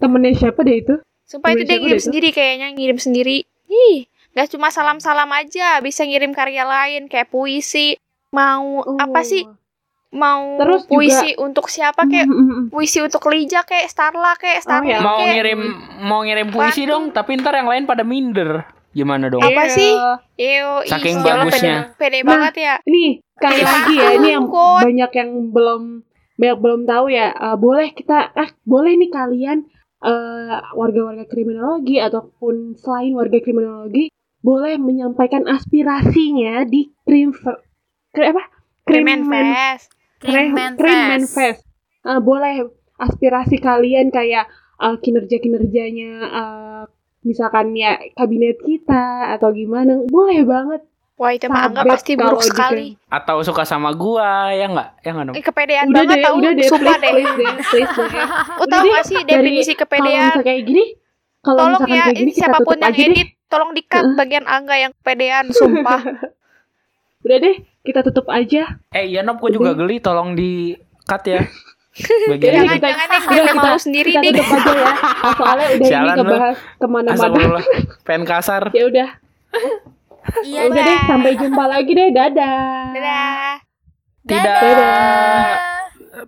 C: Temennya siapa deh itu?
B: Sumpah itu dia
C: Di- di-
B: ngirim
C: di-
B: sendiri kayaknya, ngirim sendiri. Ih, gak cuma salam-salam aja, bisa ngirim karya lain kayak puisi, mau apa sih?
C: Oh.
B: Mau
C: Terus juga-
B: puisi untuk siapa kayak
C: Mm, mm, mm.
B: puisi untuk Lija kayak Starla kayak Starla
C: ya.
A: Mau
B: kayak
A: ngirim mau ngirim puisi
B: Bantu.
A: dong, tapi ntar yang lain pada minder. Gimana dong?
B: Apa
C: Iya.
B: sih? Yo,
A: Saking
D: bagusnya.
B: Pede, pede
C: Nah,
B: banget ya.
C: Nih,
B: Iya,
C: kayak lagi ya, ini yang
B: takut.
C: banyak yang belum banyak belum tahu ya. Eh, boleh kita eh boleh nih kalian eh, warga-warga kriminologi ataupun selain warga kriminologi boleh menyampaikan aspirasinya di krim krim apa?
B: Krimen
C: Krimen-
B: fest.
D: Cream Man
C: Cream Man Fest.
D: Fest.
C: Eh, boleh aspirasi kalian kayak eh, kinerja-kinerjanya eh, misalkan ya kabinet kita atau gimana boleh banget
B: Wah, itu mah Angga
C: Sahabat
B: pasti buruk
C: kalau di
B: sekali.
A: Atau suka sama gua, ya enggak? Ya enggak dong.
B: Eh, kepedean
C: udah
B: banget
C: deh
B: tahu,
C: udah deh
B: sumpah
C: please,
B: deh.
C: please deh please
B: Lu
C: deh Udah
B: tahu
C: deh,
B: gak sih
C: dari-
B: definisi
C: kalau
B: kepedean?
C: misalkan kayak gini kalau
B: Tolong
C: misalkan
B: ya,
C: kayak gini
B: ini
C: kita
B: siapapun
C: tutup
B: yang
C: aja deh
B: edit, tolong di-cut bagian Angga yang kepedean, sumpah.
C: udah deh kita tutup aja
A: Eh, iya Nob, gua juga geli, tolong di cut ya. Bagian ini.
B: Hmm. jangan, jangan nih, gue
C: udah
B: malu
C: kita,
B: sendiri
C: kita
B: nih.
C: tutup aja ya soalnya udah
A: Sialan
C: ini
A: lu.
C: kebahas kemana-mana
A: Astagfirullah. Pengen kasar.
C: ya udah
D: Iya,
C: udah deh sampai jumpa lagi deh dadah
B: Dadah.
A: Tidak
D: Dadah.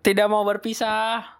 A: tidak mau berpisah.